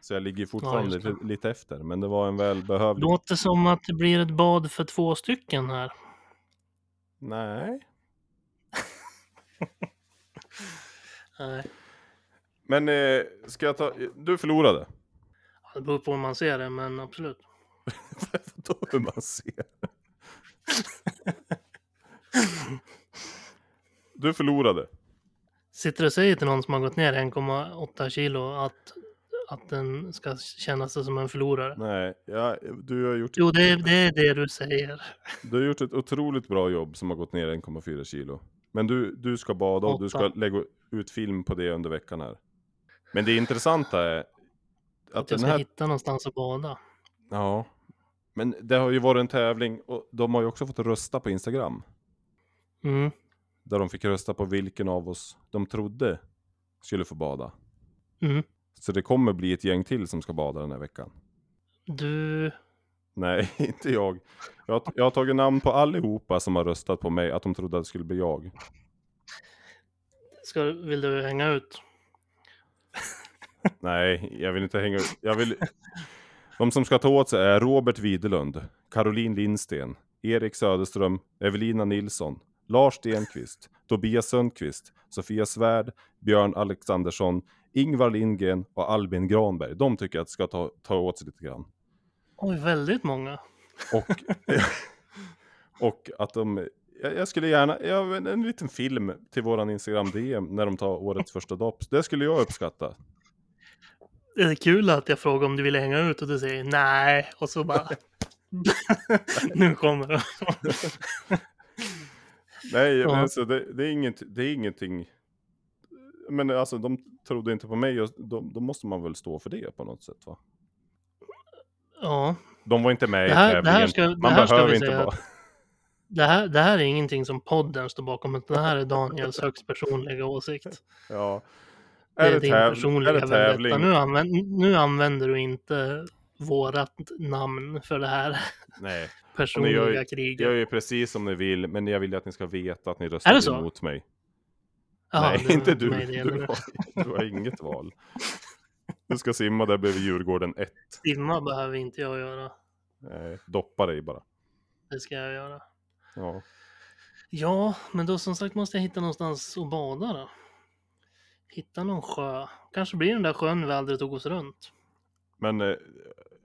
[SPEAKER 2] Så jag ligger ju fortfarande
[SPEAKER 1] just det.
[SPEAKER 2] lite, lite efter, men det var en välbehövlig...
[SPEAKER 1] Låter som att det blir ett bad för två stycken här.
[SPEAKER 2] Nej.
[SPEAKER 1] Nej.
[SPEAKER 2] Men eh, ska jag ta... Du förlorade.
[SPEAKER 1] Det beror på hur man ser det, men absolut.
[SPEAKER 2] Då hur man ser. Du förlorade.
[SPEAKER 1] Sitter och säger till någon som har gått ner 1,8 kilo att, att den ska känna sig som en förlorare.
[SPEAKER 2] Nej, ja, du, har gjort,
[SPEAKER 1] Jo, det, är- det är det du säger.
[SPEAKER 2] du har gjort ett otroligt bra jobb som har gått ner 1,4 kilo. Men du, du ska bada och du ska
[SPEAKER 1] Hoppa.
[SPEAKER 2] lägga ut film på det under veckan här. Men det intressanta är att
[SPEAKER 1] Att jag
[SPEAKER 2] den
[SPEAKER 1] ska
[SPEAKER 2] här...
[SPEAKER 1] hitta någonstans att bada.
[SPEAKER 2] Ja. Men det har ju varit en tävling och de har ju också fått rösta på Instagram.
[SPEAKER 1] Mm.
[SPEAKER 2] Där de fick rösta på vilken av oss de trodde skulle få bada.
[SPEAKER 1] Mm.
[SPEAKER 2] Så det kommer bli ett gäng till som ska bada den här veckan.
[SPEAKER 1] Du,
[SPEAKER 2] Nej, inte jag. Jag har, jag har tagit namn på allihopa som har röstat på mig, att de trodde att det skulle bli jag.
[SPEAKER 1] ska, vill du hänga ut?
[SPEAKER 2] Nej, jag vill inte hänga ut. Jag vill... De som ska ta åt sig är Robert Widerlund, Caroline Lindsten, Erik Söderström, Evelina Nilsson, Lars Stenqvist, Tobias Sundqvist, Sofia Svärd, Björn Alexandersson, Ingvar Lindgren och Albin Granberg. De tycker jag att ska ta, ta åt sig lite grann.
[SPEAKER 1] Oj, väldigt många.
[SPEAKER 2] Och, och att de... Jag, jag skulle gärna... Jag, har en- en liten film till våran Instagram DM när de tar årets första dopp. Det skulle jag uppskatta.
[SPEAKER 1] Det är kul att jag frågar om du ville hänga ut och du säger nej. Och så bara... nu kommer det.
[SPEAKER 2] Nej,
[SPEAKER 1] Ja.
[SPEAKER 2] men alltså, det, det, är inget, det är ingenting... Men alltså de trodde inte på mig och de, då måste man väl stå för det på något sätt va?
[SPEAKER 1] Ja,
[SPEAKER 2] De var inte med
[SPEAKER 1] Det här-
[SPEAKER 2] i
[SPEAKER 1] det här
[SPEAKER 2] tävlingen.
[SPEAKER 1] ska- det
[SPEAKER 2] man
[SPEAKER 1] här ska
[SPEAKER 2] behöver
[SPEAKER 1] vi
[SPEAKER 2] inte
[SPEAKER 1] säga
[SPEAKER 2] vara...
[SPEAKER 1] det här, det här är ingenting som podden står bakom, utan det här är Daniels högst personliga åsikt.
[SPEAKER 2] Ja.
[SPEAKER 1] Det är, din
[SPEAKER 2] täv-
[SPEAKER 1] personliga
[SPEAKER 2] är det
[SPEAKER 1] vendetta.
[SPEAKER 2] tävling?
[SPEAKER 1] Nu, använd, nu använder du inte vårat namn för det här
[SPEAKER 2] Nej,
[SPEAKER 1] personliga
[SPEAKER 2] Och ni gör ju-
[SPEAKER 1] kriget.
[SPEAKER 2] jag gör ju precis som ni vill, men jag vill ju att ni ska veta att ni röstade
[SPEAKER 1] det så?
[SPEAKER 2] emot mig.
[SPEAKER 1] Jaha,
[SPEAKER 2] Nej,
[SPEAKER 1] det-
[SPEAKER 2] inte du.
[SPEAKER 1] nej, det är
[SPEAKER 2] du, har, du har inget val. Du ska simma där bredvid Djurgården 1.
[SPEAKER 1] Simma behöver inte jag göra.
[SPEAKER 2] Nej, doppa dig bara.
[SPEAKER 1] Det ska jag göra.
[SPEAKER 2] Ja.
[SPEAKER 1] Ja, men då som sagt måste jag hitta någonstans att bada då. Hitta någon sjö. Kanske blir den där sjön vi aldrig tog oss runt.
[SPEAKER 2] Men eh,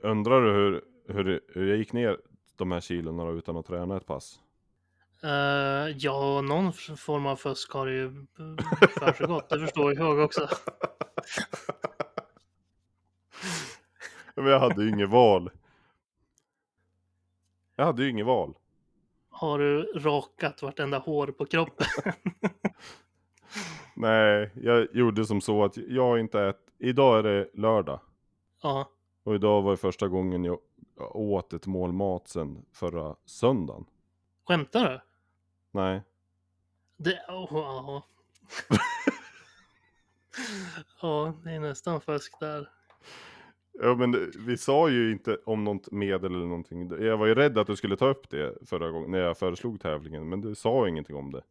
[SPEAKER 2] undrar du hur, hur, hur jag gick ner de här kilorna då utan att träna ett pass?
[SPEAKER 1] Eh, ja, någon f- form av fusk har det ju eh, försiggått. Det förstår jag också.
[SPEAKER 2] Men jag hade ju inget val. Jag hade ju inget val.
[SPEAKER 1] Har du rakat vartenda hår på kroppen?
[SPEAKER 2] Nej, jag gjorde som så att jag inte ät... Idag är det lördag.
[SPEAKER 1] ja,
[SPEAKER 2] Och idag var ju första gången jag åt ett mål mat sen förra söndagen.
[SPEAKER 1] skämtar du?
[SPEAKER 2] Nej,
[SPEAKER 1] Det, oh, ja. ja, det är nästan fusk där.
[SPEAKER 2] Ja men det- vi sa ju inte om något medel eller någonting. Jag var ju rädd att du skulle ta upp det förra gången när jag föreslog tävlingen. Men du sa ingenting om det.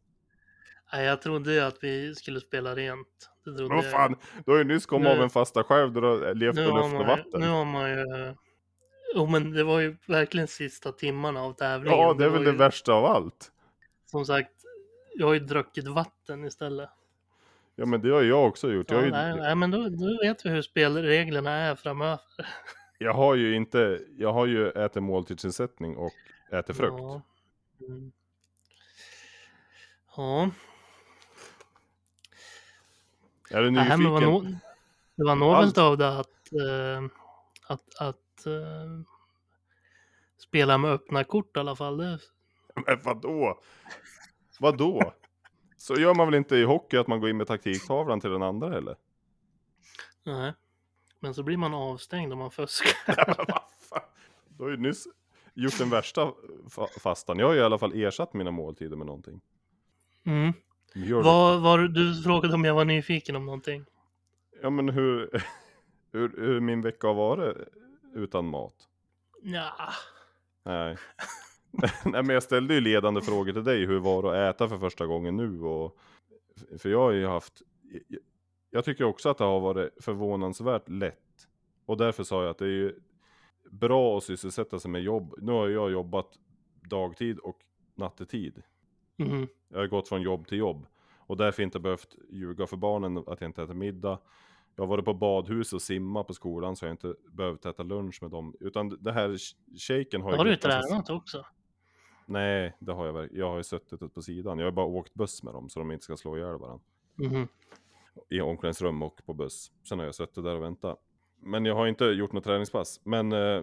[SPEAKER 1] Nej, jag trodde ju att vi skulle spela rent. Det trodde
[SPEAKER 2] Men vad
[SPEAKER 1] jag.
[SPEAKER 2] fan, du har ju nyss kommit
[SPEAKER 1] Nu-
[SPEAKER 2] av en fasta själv. Du har levt på
[SPEAKER 1] Nu
[SPEAKER 2] luft och
[SPEAKER 1] har, man, ju-
[SPEAKER 2] vatten.
[SPEAKER 1] nu har man ju... Jo, men det var ju verkligen sista timmarna av tävlingen.
[SPEAKER 2] ja det är väl
[SPEAKER 1] var
[SPEAKER 2] det
[SPEAKER 1] ju-
[SPEAKER 2] värsta av allt.
[SPEAKER 1] Som sagt, jag har ju druckit vatten istället.
[SPEAKER 2] Ja men det har jag också gjort. Jag
[SPEAKER 1] Ja,
[SPEAKER 2] har ju,
[SPEAKER 1] nej, nej, men då, då vet vi hur spelreglerna är framöver.
[SPEAKER 2] jag har ju inte, jag har ju ätit måltidsersättning och ätit frukt.
[SPEAKER 1] Ja. Mm. ja.
[SPEAKER 2] Är du
[SPEAKER 1] Nej,
[SPEAKER 2] nyfiken?
[SPEAKER 1] men det var nog- det var något
[SPEAKER 2] Allt.
[SPEAKER 1] av det att, eh, att, att eh, spela med öppna kort i alla fall. Det,
[SPEAKER 2] Men vadå? Vadå? Så gör man väl inte i hockey att man går in med taktiktavlan till den andra eller?
[SPEAKER 1] nej. Men så blir man avstängd om man fuskar.
[SPEAKER 2] Ja, men vad fan. Du har ju nyss gjort den värsta fa- fastan. Jag har ju i alla fall ersatt mina måltider med någonting.
[SPEAKER 1] Mm.
[SPEAKER 2] Mjölk.
[SPEAKER 1] Var, var, du frågade om jag var nyfiken om någonting.
[SPEAKER 2] Ja men hur, hur, hur min vecka har varit utan mat?
[SPEAKER 1] Ja.
[SPEAKER 2] Nej. Nej men jag ställde ju ledande frågor till dig. Hur var det att äta för första gången nu? Och, för jag har ju haft. jag- Jag tycker också att det har varit förvånansvärt lätt. Och därför sa jag att det är ju bra att sysselsätta sig med jobb. Nu har jag jobbat dagtid och nattetid.
[SPEAKER 1] Mm.
[SPEAKER 2] Jag har gått från jobb till jobb. Och därför inte behövt ljuga för barnen att jag inte äter middag. Jag har varit på badhus och simma på skolan så jag har inte behövt äta lunch med dem. Utan det här sh- shaken har ju...
[SPEAKER 1] Har du
[SPEAKER 2] gått ganska-
[SPEAKER 1] tränat också?
[SPEAKER 2] Nej, det har jag verkligen. Jag har ju suttit ute på sidan. Jag har bara åkt buss med dem så de inte ska slå ihjäl varandra.
[SPEAKER 1] Mhm.
[SPEAKER 2] I omklädningsrum och på buss. Sen har jag suttit där och väntat. Men jag har inte gjort något träningspass. Men eh,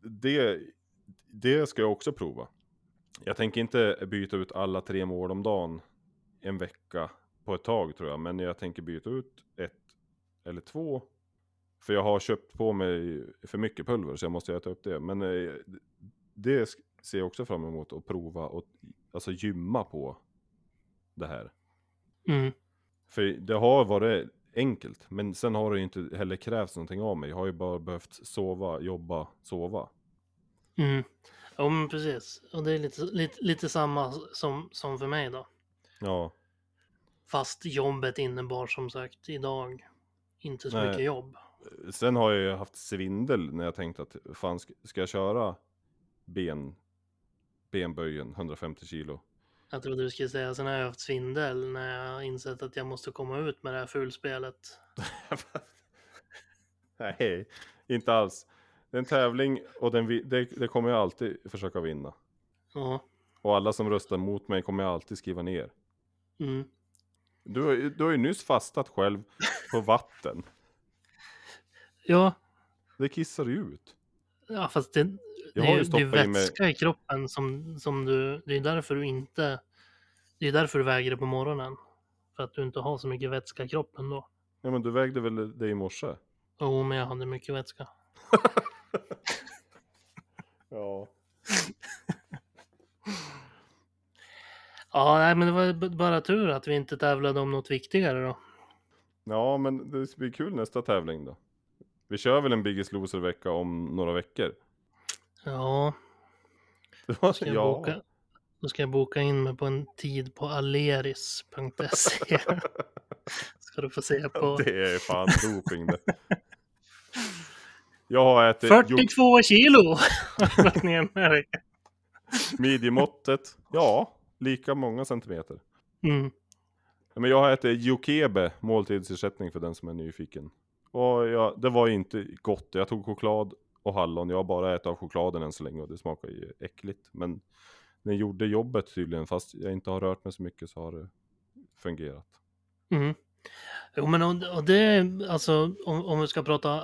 [SPEAKER 2] det, det ska jag också prova. Jag tänker inte byta ut alla tre mål om dagen en vecka på ett tag tror jag. Men jag tänker byta ut ett eller två. För jag har köpt på mig för mycket pulver så jag måste äta upp det. Men eh, det sk- ser jag också fram emot att prova och alltså gymma på det här.
[SPEAKER 1] Mm.
[SPEAKER 2] För det har varit enkelt, men sen har det ju inte heller krävts någonting av mig. Jag har ju bara behövt sova, jobba, sova.
[SPEAKER 1] Mm. Ja, men precis. Och det är lite, lite, lite samma som, som för mig då.
[SPEAKER 2] Ja,
[SPEAKER 1] Fast jobbet innebar som sagt idag inte så
[SPEAKER 2] Nej.
[SPEAKER 1] mycket jobb.
[SPEAKER 2] sen har jag ju haft svindel när jag tänkt att fan sk- ska jag köra ben, benböjen 150 kilo?
[SPEAKER 1] Jag trodde du skulle säga sen har jag haft svindel när jag insett att jag måste komma ut med det här fulspelet.
[SPEAKER 2] Nej, inte alls. Det är en tävling och den, vi- det, det kommer jag alltid försöka vinna.
[SPEAKER 1] Ja.
[SPEAKER 2] Och alla som röstar mot mig kommer jag alltid skriva ner.
[SPEAKER 1] Mm.
[SPEAKER 2] Du, har ju- du har ju nyss fastat själv på vatten.
[SPEAKER 1] Ja,
[SPEAKER 2] Det kissar ju ut.
[SPEAKER 1] ja, fast det, det
[SPEAKER 2] Jag har
[SPEAKER 1] är, det
[SPEAKER 2] ju
[SPEAKER 1] är
[SPEAKER 2] stoppat i mig...
[SPEAKER 1] vätska i kroppen som, som du... Det är därför du inte... Det är därför du väger det på morgonen. För att du inte har så mycket vätska i kroppen då.
[SPEAKER 2] Ja men du vägde väl det i morse?
[SPEAKER 1] Jo, men jag hade mycket vätska.
[SPEAKER 2] Ja.
[SPEAKER 1] Ja, nej, men det var b- bara tur att vi inte tävlade om något viktigare då.
[SPEAKER 2] Ja men det blir kul nästa tävling då. Vi kör väl en Biggest Loser-vecka om några veckor?
[SPEAKER 1] Ja, ska jag
[SPEAKER 2] ja.
[SPEAKER 1] boka, då ska jag boka in mig på en tid på aleris.se. ska du få se på.
[SPEAKER 2] Det är fan doping det. Jag har ätit
[SPEAKER 1] 42 kilo har jag lagt ner med dig.
[SPEAKER 2] gjort midjemåttet. Ja, lika många centimeter.
[SPEAKER 1] Mm.
[SPEAKER 2] Men jag har ätit jokebe, måltidsersättning för den som är nyfiken. Och jag, det var inte gott. Jag tog choklad och hallon. Jag har bara ätit av chokladen än så länge och det smakar ju äckligt. Men den gjorde jobbet tydligen. Fast jag inte har rört mig så mycket så har det fungerat.
[SPEAKER 1] Mm. Jo, men och, och det, alltså om, om vi ska prata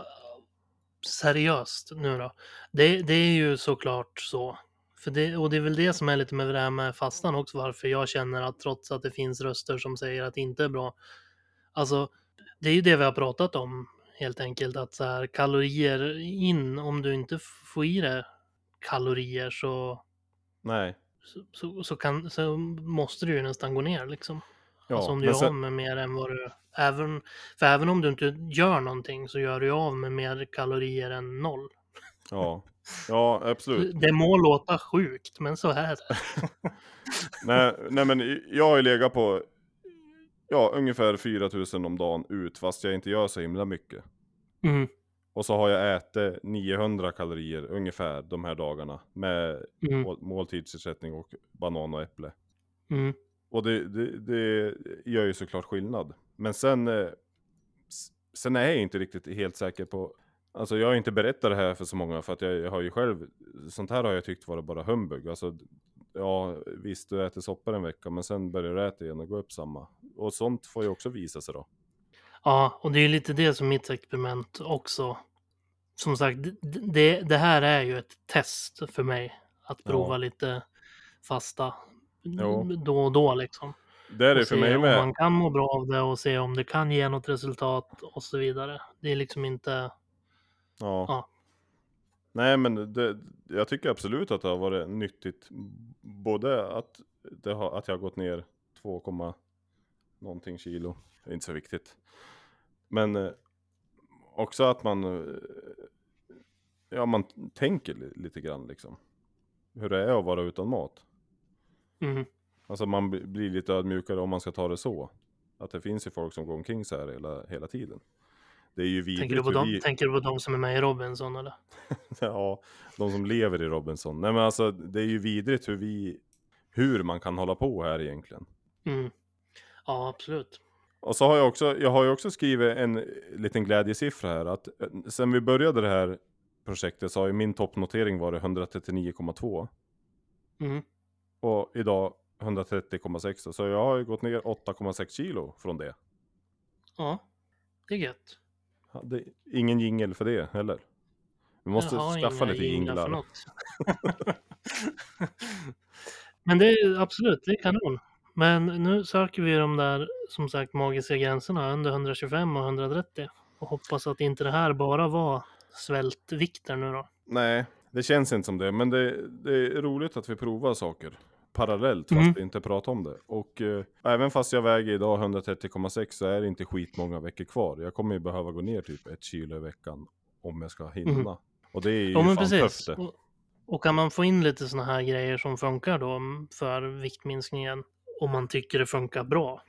[SPEAKER 1] seriöst nu då. Det, det är ju såklart så. För det, och det är väl det som är lite med det här med fastan också, varför jag känner att trots att det finns röster som säger att det inte är bra. Alltså, det är ju det vi har pratat om helt enkelt, att så här kalorier in, om du inte f- får i dig kalorier så,
[SPEAKER 2] Nej.
[SPEAKER 1] så- så, så, kan, så måste du ju nästan gå ner liksom.
[SPEAKER 2] Ja,
[SPEAKER 1] alltså om du
[SPEAKER 2] men
[SPEAKER 1] gör av
[SPEAKER 2] sen,
[SPEAKER 1] med mer än vad du... Även, för även om du inte gör någonting så gör du ju av med mer kalorier än noll.
[SPEAKER 2] ja. ja, absolut.
[SPEAKER 1] Det må låta sjukt, men så är det.
[SPEAKER 2] nej, nej men jag har ju legat på ja, ungefär 4000 om dagen ut fast jag inte gör så himla mycket.
[SPEAKER 1] Mm,
[SPEAKER 2] Och så har jag ätit 900 kalorier ungefär de här dagarna med
[SPEAKER 1] mm,
[SPEAKER 2] mål- måltidsersättning och banan och äpple.
[SPEAKER 1] mm,
[SPEAKER 2] Och det, det, det gör ju såklart skillnad. Men sen, eh, s- sen är jag inte riktigt helt säker på, alltså jag har inte berättat det här för så många för att jag, jag har ju själv, sånt här har jag tyckt vara bara humbug. Alltså, ja visst du äter soppa en vecka men sen börjar du äta igen och gå upp samma. Och sånt får ju också visa sig då.
[SPEAKER 1] Ja, och det är ju lite det som mitt experiment också. Som sagt, d- d- det, det här är ju ett test för mig. Att prova
[SPEAKER 2] Ja.
[SPEAKER 1] lite fasta
[SPEAKER 2] Jo.
[SPEAKER 1] då och då liksom.
[SPEAKER 2] Det är det
[SPEAKER 1] och
[SPEAKER 2] för
[SPEAKER 1] se
[SPEAKER 2] mig
[SPEAKER 1] om
[SPEAKER 2] med.
[SPEAKER 1] man kan må bra av det och se om det kan ge något resultat och så vidare. Det är liksom inte...
[SPEAKER 2] Ja.
[SPEAKER 1] Ja.
[SPEAKER 2] Nej men det, jag tycker absolut att det har varit nyttigt. Både att, det har, att jag har gått ner 2, komma någonting kilo. Det är inte så viktigt. Men eh, också att man, eh, ja man tänker li- lite grann liksom. Hur det är att vara utan mat.
[SPEAKER 1] Mm,
[SPEAKER 2] Alltså man bli- blir lite ödmjukare om man ska ta det så. Att det finns ju folk som går omkring så här hela, hela tiden. Det är ju vidrigt
[SPEAKER 1] tänker, du på
[SPEAKER 2] hur
[SPEAKER 1] dem,
[SPEAKER 2] vi-
[SPEAKER 1] tänker du på dem som är med i Robinson eller?
[SPEAKER 2] Ja, de som lever i Robinson. Nej men alltså det är ju vidrigt hur vi, hur man kan hålla på här egentligen.
[SPEAKER 1] Mm. Ja, absolut.
[SPEAKER 2] Och så har jag också, jag har ju också skrivit en liten glädjesiffra här att eh, sen vi började det här projektet så har ju min toppnotering varit 139,2
[SPEAKER 1] Mm.
[SPEAKER 2] och idag 130,6 så jag har ju gått ner 8,6 kilo från det.
[SPEAKER 1] Ja, det är gött.
[SPEAKER 2] Hade ingen jingel för det heller. Vi måste
[SPEAKER 1] Jag har
[SPEAKER 2] skaffa
[SPEAKER 1] inga
[SPEAKER 2] lite
[SPEAKER 1] jinglar för
[SPEAKER 2] jinglar.
[SPEAKER 1] något. Men det är absolut, det är kanon. Men nu söker vi de där, som sagt, magiska gränserna under 125 och 130. Och hoppas att inte det här bara var svältvikter nu då.
[SPEAKER 2] Nej, det känns inte som det. Men det, det är roligt att vi provar saker parallellt fast
[SPEAKER 1] Mm.
[SPEAKER 2] vi inte pratar om det. Och eh, även fast jag väger idag 130,6 så är det inte skitmånga veckor kvar. Jag kommer ju behöva gå ner typ ett kilo i veckan om jag ska hinna.
[SPEAKER 1] Mm.
[SPEAKER 2] Och det är ju
[SPEAKER 1] Ja, men
[SPEAKER 2] fan
[SPEAKER 1] precis.
[SPEAKER 2] tufft det.
[SPEAKER 1] Och, och kan man få in lite sådana här grejer som funkar då mm, för viktminskningen, om man tycker det funkar bra.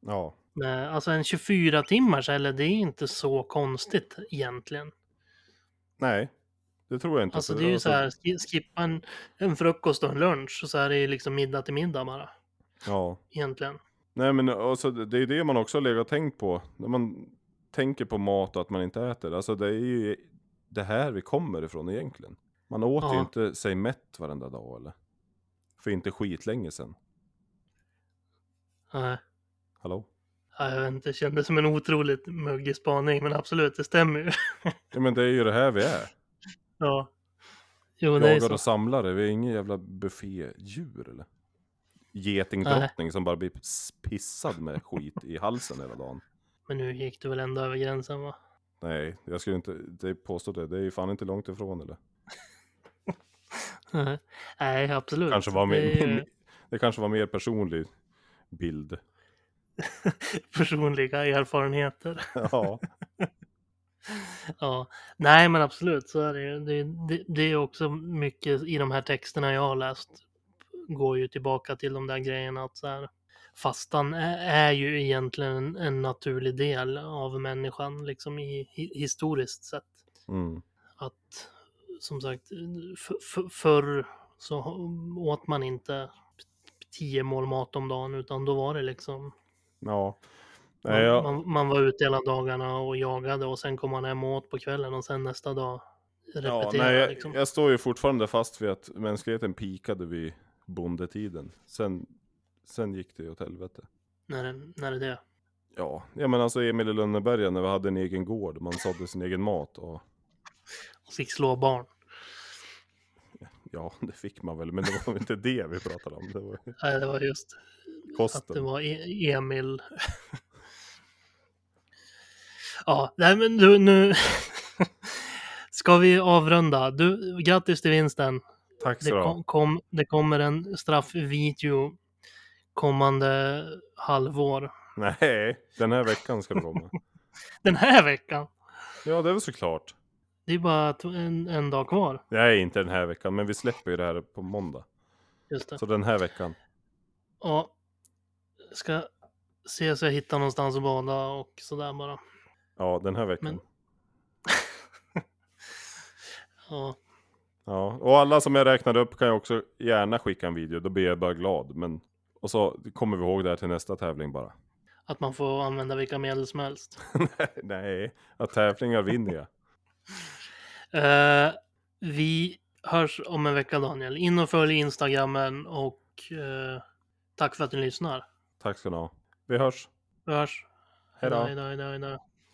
[SPEAKER 2] Ja,
[SPEAKER 1] Eh, Alltså en 24 timmars, eller det är inte så konstigt egentligen.
[SPEAKER 2] Typ nej. Det tror jag inte.
[SPEAKER 1] Alltså
[SPEAKER 2] för-
[SPEAKER 1] det är ju så här, sk- skippa en, en frukost och en lunch och så här är det ju liksom middag till middag bara
[SPEAKER 2] Ja.
[SPEAKER 1] egentligen.
[SPEAKER 2] Nej men alltså, det är ju det man också har legat och tänkt på. När man tänker på mat och att man inte äter. Alltså det är ju det här vi kommer ifrån egentligen. Man åt ju
[SPEAKER 1] Ja.
[SPEAKER 2] inte sig mätt varenda dag eller? För inte skitlänge sen.
[SPEAKER 1] Nej,
[SPEAKER 2] Hallå?
[SPEAKER 1] ja, jag vet inte, det kändes som en otroligt möglig spaning, men absolut, det stämmer ju.
[SPEAKER 2] Ja men det är ju det här vi är.
[SPEAKER 1] ja. Jo, det är
[SPEAKER 2] Jagare
[SPEAKER 1] så.
[SPEAKER 2] och samlare, vi är ingen jävla buffédjur eller? Getingdrottning som bara blir s- pissad med skit i halsen hela dagen.
[SPEAKER 1] Men nu gick du väl ändå över gränsen va?
[SPEAKER 2] Nej, jag skulle inte det påstå det. Det är ju fan inte långt ifrån eller?
[SPEAKER 1] Nej, Nej, absolut.
[SPEAKER 2] Kanske var min,
[SPEAKER 1] Det är
[SPEAKER 2] min, det kanske var mer personlig bild.
[SPEAKER 1] personliga erfarenheter.
[SPEAKER 2] Ja,
[SPEAKER 1] Ja, nej men absolut så är det ju. Det, det, det är också mycket i de här texterna jag har läst går ju tillbaka till de där grejerna att så här, fastan är, är ju egentligen en, en naturlig del av människan liksom i, i, historiskt sett.
[SPEAKER 2] mm.
[SPEAKER 1] Att som sagt f- f- förr så åt man inte tio mål mat om dagen utan då var det liksom
[SPEAKER 2] ja.
[SPEAKER 1] man,
[SPEAKER 2] Nej, jag,
[SPEAKER 1] man, man var ute hela dagarna och jagade och sen kom man hem och åt på kvällen och sen nästa dag
[SPEAKER 2] ja,
[SPEAKER 1] repetera.
[SPEAKER 2] nej,
[SPEAKER 1] liksom.
[SPEAKER 2] jag, jag står ju fortfarande fast vid att mänskligheten pikade vid bondetiden. Sen, sen gick det ju åt helvete.
[SPEAKER 1] när, det- när det är det.
[SPEAKER 2] Ja, ja men alltså Emil i Lönneberga när vi hade en egen gård, man sådde sin egen mat och
[SPEAKER 1] Och fick slå barn.
[SPEAKER 2] ja, det fick man väl, men det var väl inte det vi pratade om, det var ju
[SPEAKER 1] Nej, det var just att det
[SPEAKER 2] kosten.
[SPEAKER 1] var E- Emil. ja, nej men du nu. Ska vi avrunda? Du, grattis till vinsten.
[SPEAKER 2] Tack
[SPEAKER 1] Det,
[SPEAKER 2] så du ha.
[SPEAKER 1] kom, kom, det kommer en straffvideo kommande halvår.
[SPEAKER 2] Nej, den här veckan ska det komma.
[SPEAKER 1] Den här veckan.
[SPEAKER 2] Ja, det är väl såklart.
[SPEAKER 1] Det är bara t- en, en dag kvar.
[SPEAKER 2] Nej, inte den här veckan, men vi släpper ju det här på måndag.
[SPEAKER 1] Just det.
[SPEAKER 2] Så den här veckan.
[SPEAKER 1] Ja. Ska se så jag hittar någonstans att bada och sådär bara.
[SPEAKER 2] Ja, den här veckan.
[SPEAKER 1] Men- Ja,
[SPEAKER 2] Ja, och alla som jag räknade upp kan jag också gärna skicka en video, då blir jag bara glad. Men, och så kommer vi ihåg det här till nästa tävling bara.
[SPEAKER 1] att man får använda vilka medel som helst.
[SPEAKER 2] Nej, att tävlingar vinner jag.
[SPEAKER 1] Eh, vi hörs om en vecka Daniel. In och följ Instagrammen och eh, tack för att ni lyssnar.
[SPEAKER 2] Tack ska ni ha. Vi hörs.
[SPEAKER 1] Vi hörs.
[SPEAKER 2] Hej då.
[SPEAKER 1] Hej då, hej då, hej då.